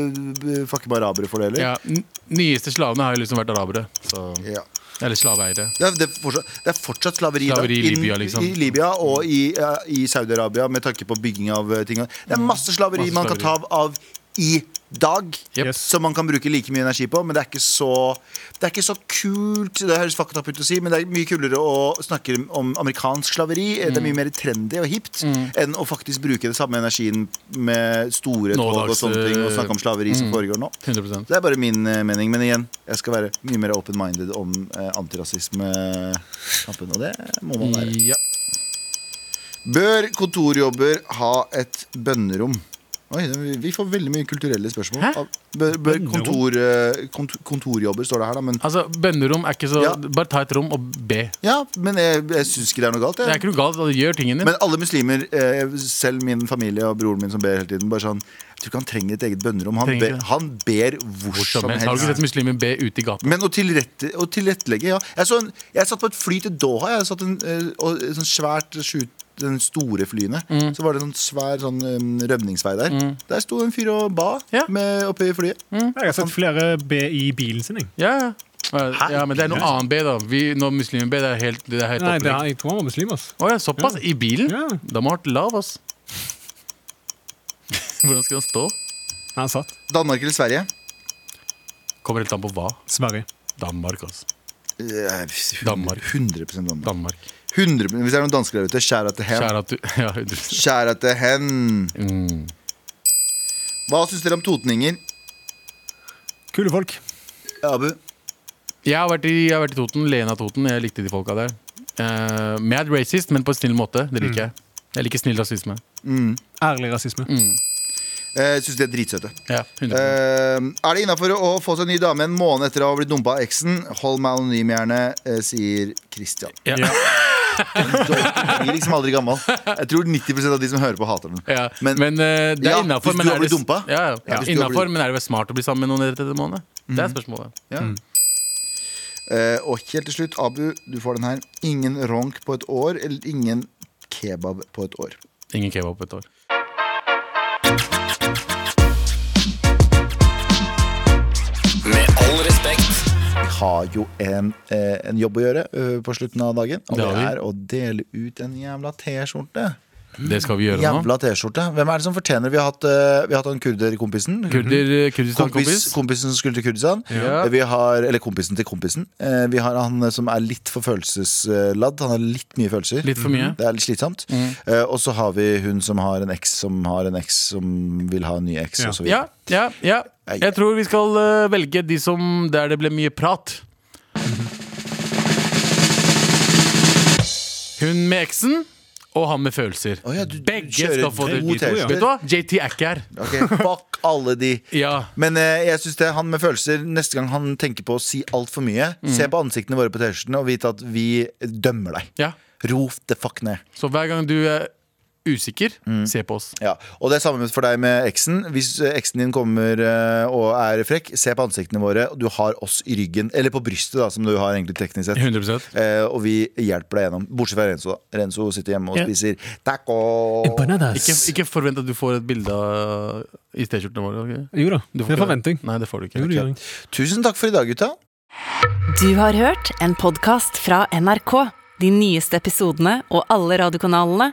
Speaker 2: fucke med arabere for det heller.
Speaker 3: ja, n- Nyeste slavene har jo liksom vært arabere. Så.
Speaker 2: Ja.
Speaker 3: Eller slaveeiere.
Speaker 2: Det, er, det, er fortsatt, det er fortsatt slaveri, da.
Speaker 3: Slaveri i
Speaker 2: Inn-
Speaker 3: Libya, liksom.
Speaker 2: i Libya og i, eh, i Saudi-Arabia med tanke på bygging av eh, ting. Det er masse slaveri
Speaker 3: Masse
Speaker 2: man kan ta av, av i dag.
Speaker 3: Yep.
Speaker 2: Som man kan bruke like mye energi på, men det er ikke så, det er ikke så kult. Det høres fucked up ut å si, men det er mye kulere å snakke om amerikansk slaveri. Det er
Speaker 3: Mm.
Speaker 2: mye mer trendy og hipt enn å faktisk bruke det samme energien med store tog og
Speaker 3: Nådags,
Speaker 2: sånne ting og
Speaker 3: eh,
Speaker 2: snakke om slaveri som foregår nå.
Speaker 3: 100%
Speaker 2: Det er bare min eh, mening, men igjen, jeg skal være mye mer open-minded om eh, antirasismekampen, og det må man være.
Speaker 3: ja.
Speaker 2: Bør kontorjobber ha et bønnerom? Oi, det- vi får veldig mye kulturelle spørsmål.
Speaker 3: Hæ?
Speaker 2: Av- Bør, bør
Speaker 4: Bønnerom?
Speaker 2: kontor, eh, kont kontorjobber, står det her, da. Men,
Speaker 3: Altså, bønnerom er ikke så
Speaker 2: Ja.
Speaker 3: Bare ta et rom og be.
Speaker 2: ja, men jeg, jeg syns ikke det er noe galt.
Speaker 3: Det er
Speaker 2: Jeg.
Speaker 3: ikke noe galt. altså, Gjør tingen din.
Speaker 2: Men alle muslimer, eh, selv min familie og broren min som ber hele tiden, bare sånn Jeg tror ikke han trenger et eget bønnerom. Han,
Speaker 3: Trenger
Speaker 2: ber-
Speaker 3: ikke.
Speaker 2: han ber hvor,
Speaker 3: Hvor
Speaker 2: som helst.
Speaker 3: Har du ikke sett muslimer be ute i gaten?
Speaker 2: Men å, tilrette, å tilrettelegge, ja. Jeg, så en, jeg satt på et fly til Doha. Jeg satt en, eh, og, et sånt svært skjut, den store flyene. Så var det en sånn svær sånn, em, rømningsvei der. Der sto en fyr og ba
Speaker 3: Ja.
Speaker 2: med, oppe i flyet.
Speaker 4: Jeg har sett flere be i bilen sin. Jeg.
Speaker 3: Ja, ja. Eh, ja, men det er noe annet be, da. Vi, når muslimer be, det er helt, det er helt
Speaker 4: Nei, det
Speaker 3: opplegg.
Speaker 4: er, jeg tror han var muslim. ass.
Speaker 3: Å ja, såpass? I bilen?
Speaker 4: Ja.
Speaker 3: Da må ha vært lav, ass. Hvordan skal han stå?
Speaker 4: Nei, han satt.
Speaker 2: Danmark eller Sverige?
Speaker 3: Kommer helt an på hva.
Speaker 4: Sverige.
Speaker 3: Danmark, ass.
Speaker 2: Eh,
Speaker 3: Danmark.
Speaker 2: 100 Danmark.
Speaker 3: Danmark.
Speaker 2: 100, hvis det er noen dansker der ute, skjæra til hen.
Speaker 3: Kjære at du ja, du-
Speaker 2: Skjæra til hen.
Speaker 3: mm.
Speaker 2: Hva syns dere om totninger?
Speaker 4: Kule folk.
Speaker 2: Abu?
Speaker 3: jeg, har vært i, jeg har vært i Toten. Lena Toten. Jeg likte de folka der. Eh, mad racist, men på en snill måte. Det liker jeg. Jeg liker snill rasisme.
Speaker 4: Ærlig rasisme.
Speaker 2: Mm. Eh, syns de er dritsøte.
Speaker 3: Ja, 100%.
Speaker 2: Eh, er det innafor å få seg en ny dame en måned etter å ha blitt dumpa av eksen? Hold meg anonym, gjerne, eh, sier Christian.
Speaker 3: Ja.
Speaker 4: Eh,
Speaker 2: Du blir liksom aldri gammel. Jeg tror 90 av de som hører på, hater den.
Speaker 3: Ja, men,
Speaker 2: Men,
Speaker 3: eh, det er
Speaker 2: ja,
Speaker 3: innafor.
Speaker 2: hvis
Speaker 3: men
Speaker 2: du har
Speaker 3: er det-
Speaker 2: blitt dumpa?
Speaker 3: Ja, ja.
Speaker 2: Ja, hvis du har
Speaker 3: Innenfor,
Speaker 2: blitt- Mhm.
Speaker 3: men er det vel smart å bli sammen med noen etter en måned? Det er spørsmålet.
Speaker 2: ja. Eh, og helt til slutt, Abu, du får den her. Ingen ronk på et år, eller ingen kebab på et år.
Speaker 3: Ingen kebab på et år.
Speaker 6: Med all respekt.
Speaker 2: Vi har jo en, eh, en jobb å gjøre eh, på slutten av dagen, og
Speaker 3: Det
Speaker 2: det,
Speaker 3: har vi.
Speaker 2: er å dele ut en jævla T-skjorte.
Speaker 3: Det skal vi gjøre nå.
Speaker 2: Jævla T-skjorte. Hvem er det som fortjener Vi har hatt, eh, vi har hatt han kurderkompisen.
Speaker 3: Kurder, eh, Kurdistan,
Speaker 2: Kompis,
Speaker 3: kompis.
Speaker 2: kompisen som skulle til Kurdistan.
Speaker 3: Ja.
Speaker 2: Vi har, eller kompisen til kompisen. Eh, Vi har han eh, som er litt for følelsesladd. Han har litt mye følelser.
Speaker 3: Litt for mye.
Speaker 2: Det er litt slitsomt. Eh, Og så har vi hun som har en eks som har en eks som vil ha en ny eks.
Speaker 4: Ja.
Speaker 2: og så videre.
Speaker 3: Ja, ja, ja. Jeg tror vi skal eh, velge de som der det ble mye prat. Hun med eksen og han med følelser.
Speaker 2: Å ja, du- du
Speaker 3: Begge
Speaker 2: kjører
Speaker 3: skal få det.
Speaker 2: to
Speaker 3: dit.
Speaker 2: T-skjorter.
Speaker 3: Vet du hva? JT er ikke her.
Speaker 2: Ok, fuck alle de.
Speaker 3: Ja.
Speaker 2: Men eh, jeg synes det er han med følelser neste gang han tenker på å si altfor mye, se på ansiktene våre på T-skjortene og vite at vi dømmer deg.
Speaker 3: ja.
Speaker 2: Ro the fuck ned.
Speaker 3: Så hver gang du er usikker,
Speaker 2: Mm.
Speaker 3: se på oss.
Speaker 2: Ja, Og det er samme for deg med eksen. Hvis eh, eksen din kommer eh, og er frekk, se på ansiktene våre. Du har oss i ryggen, eller på brystet, da, som du har egentlig teknisk sett.
Speaker 3: 100
Speaker 2: Eh, og vi hjelper deg gjennom. Bortsett fra Renzo. da Renzo sitter hjemme og
Speaker 3: Ja.
Speaker 2: spiser taco.
Speaker 3: Ikke, ikke forvent at du får et bilde av- i T-skjortene våre. ok?
Speaker 4: Jo da.
Speaker 3: Du får
Speaker 4: Det er
Speaker 3: ikke-
Speaker 4: forventing.
Speaker 3: Nei, det får du ikke.
Speaker 4: Jo, det gjør jeg.
Speaker 2: Tusen takk for i dag, gutta.
Speaker 1: Du har hørt en podkast fra NRK. De nyeste episodene og alle radiokanalene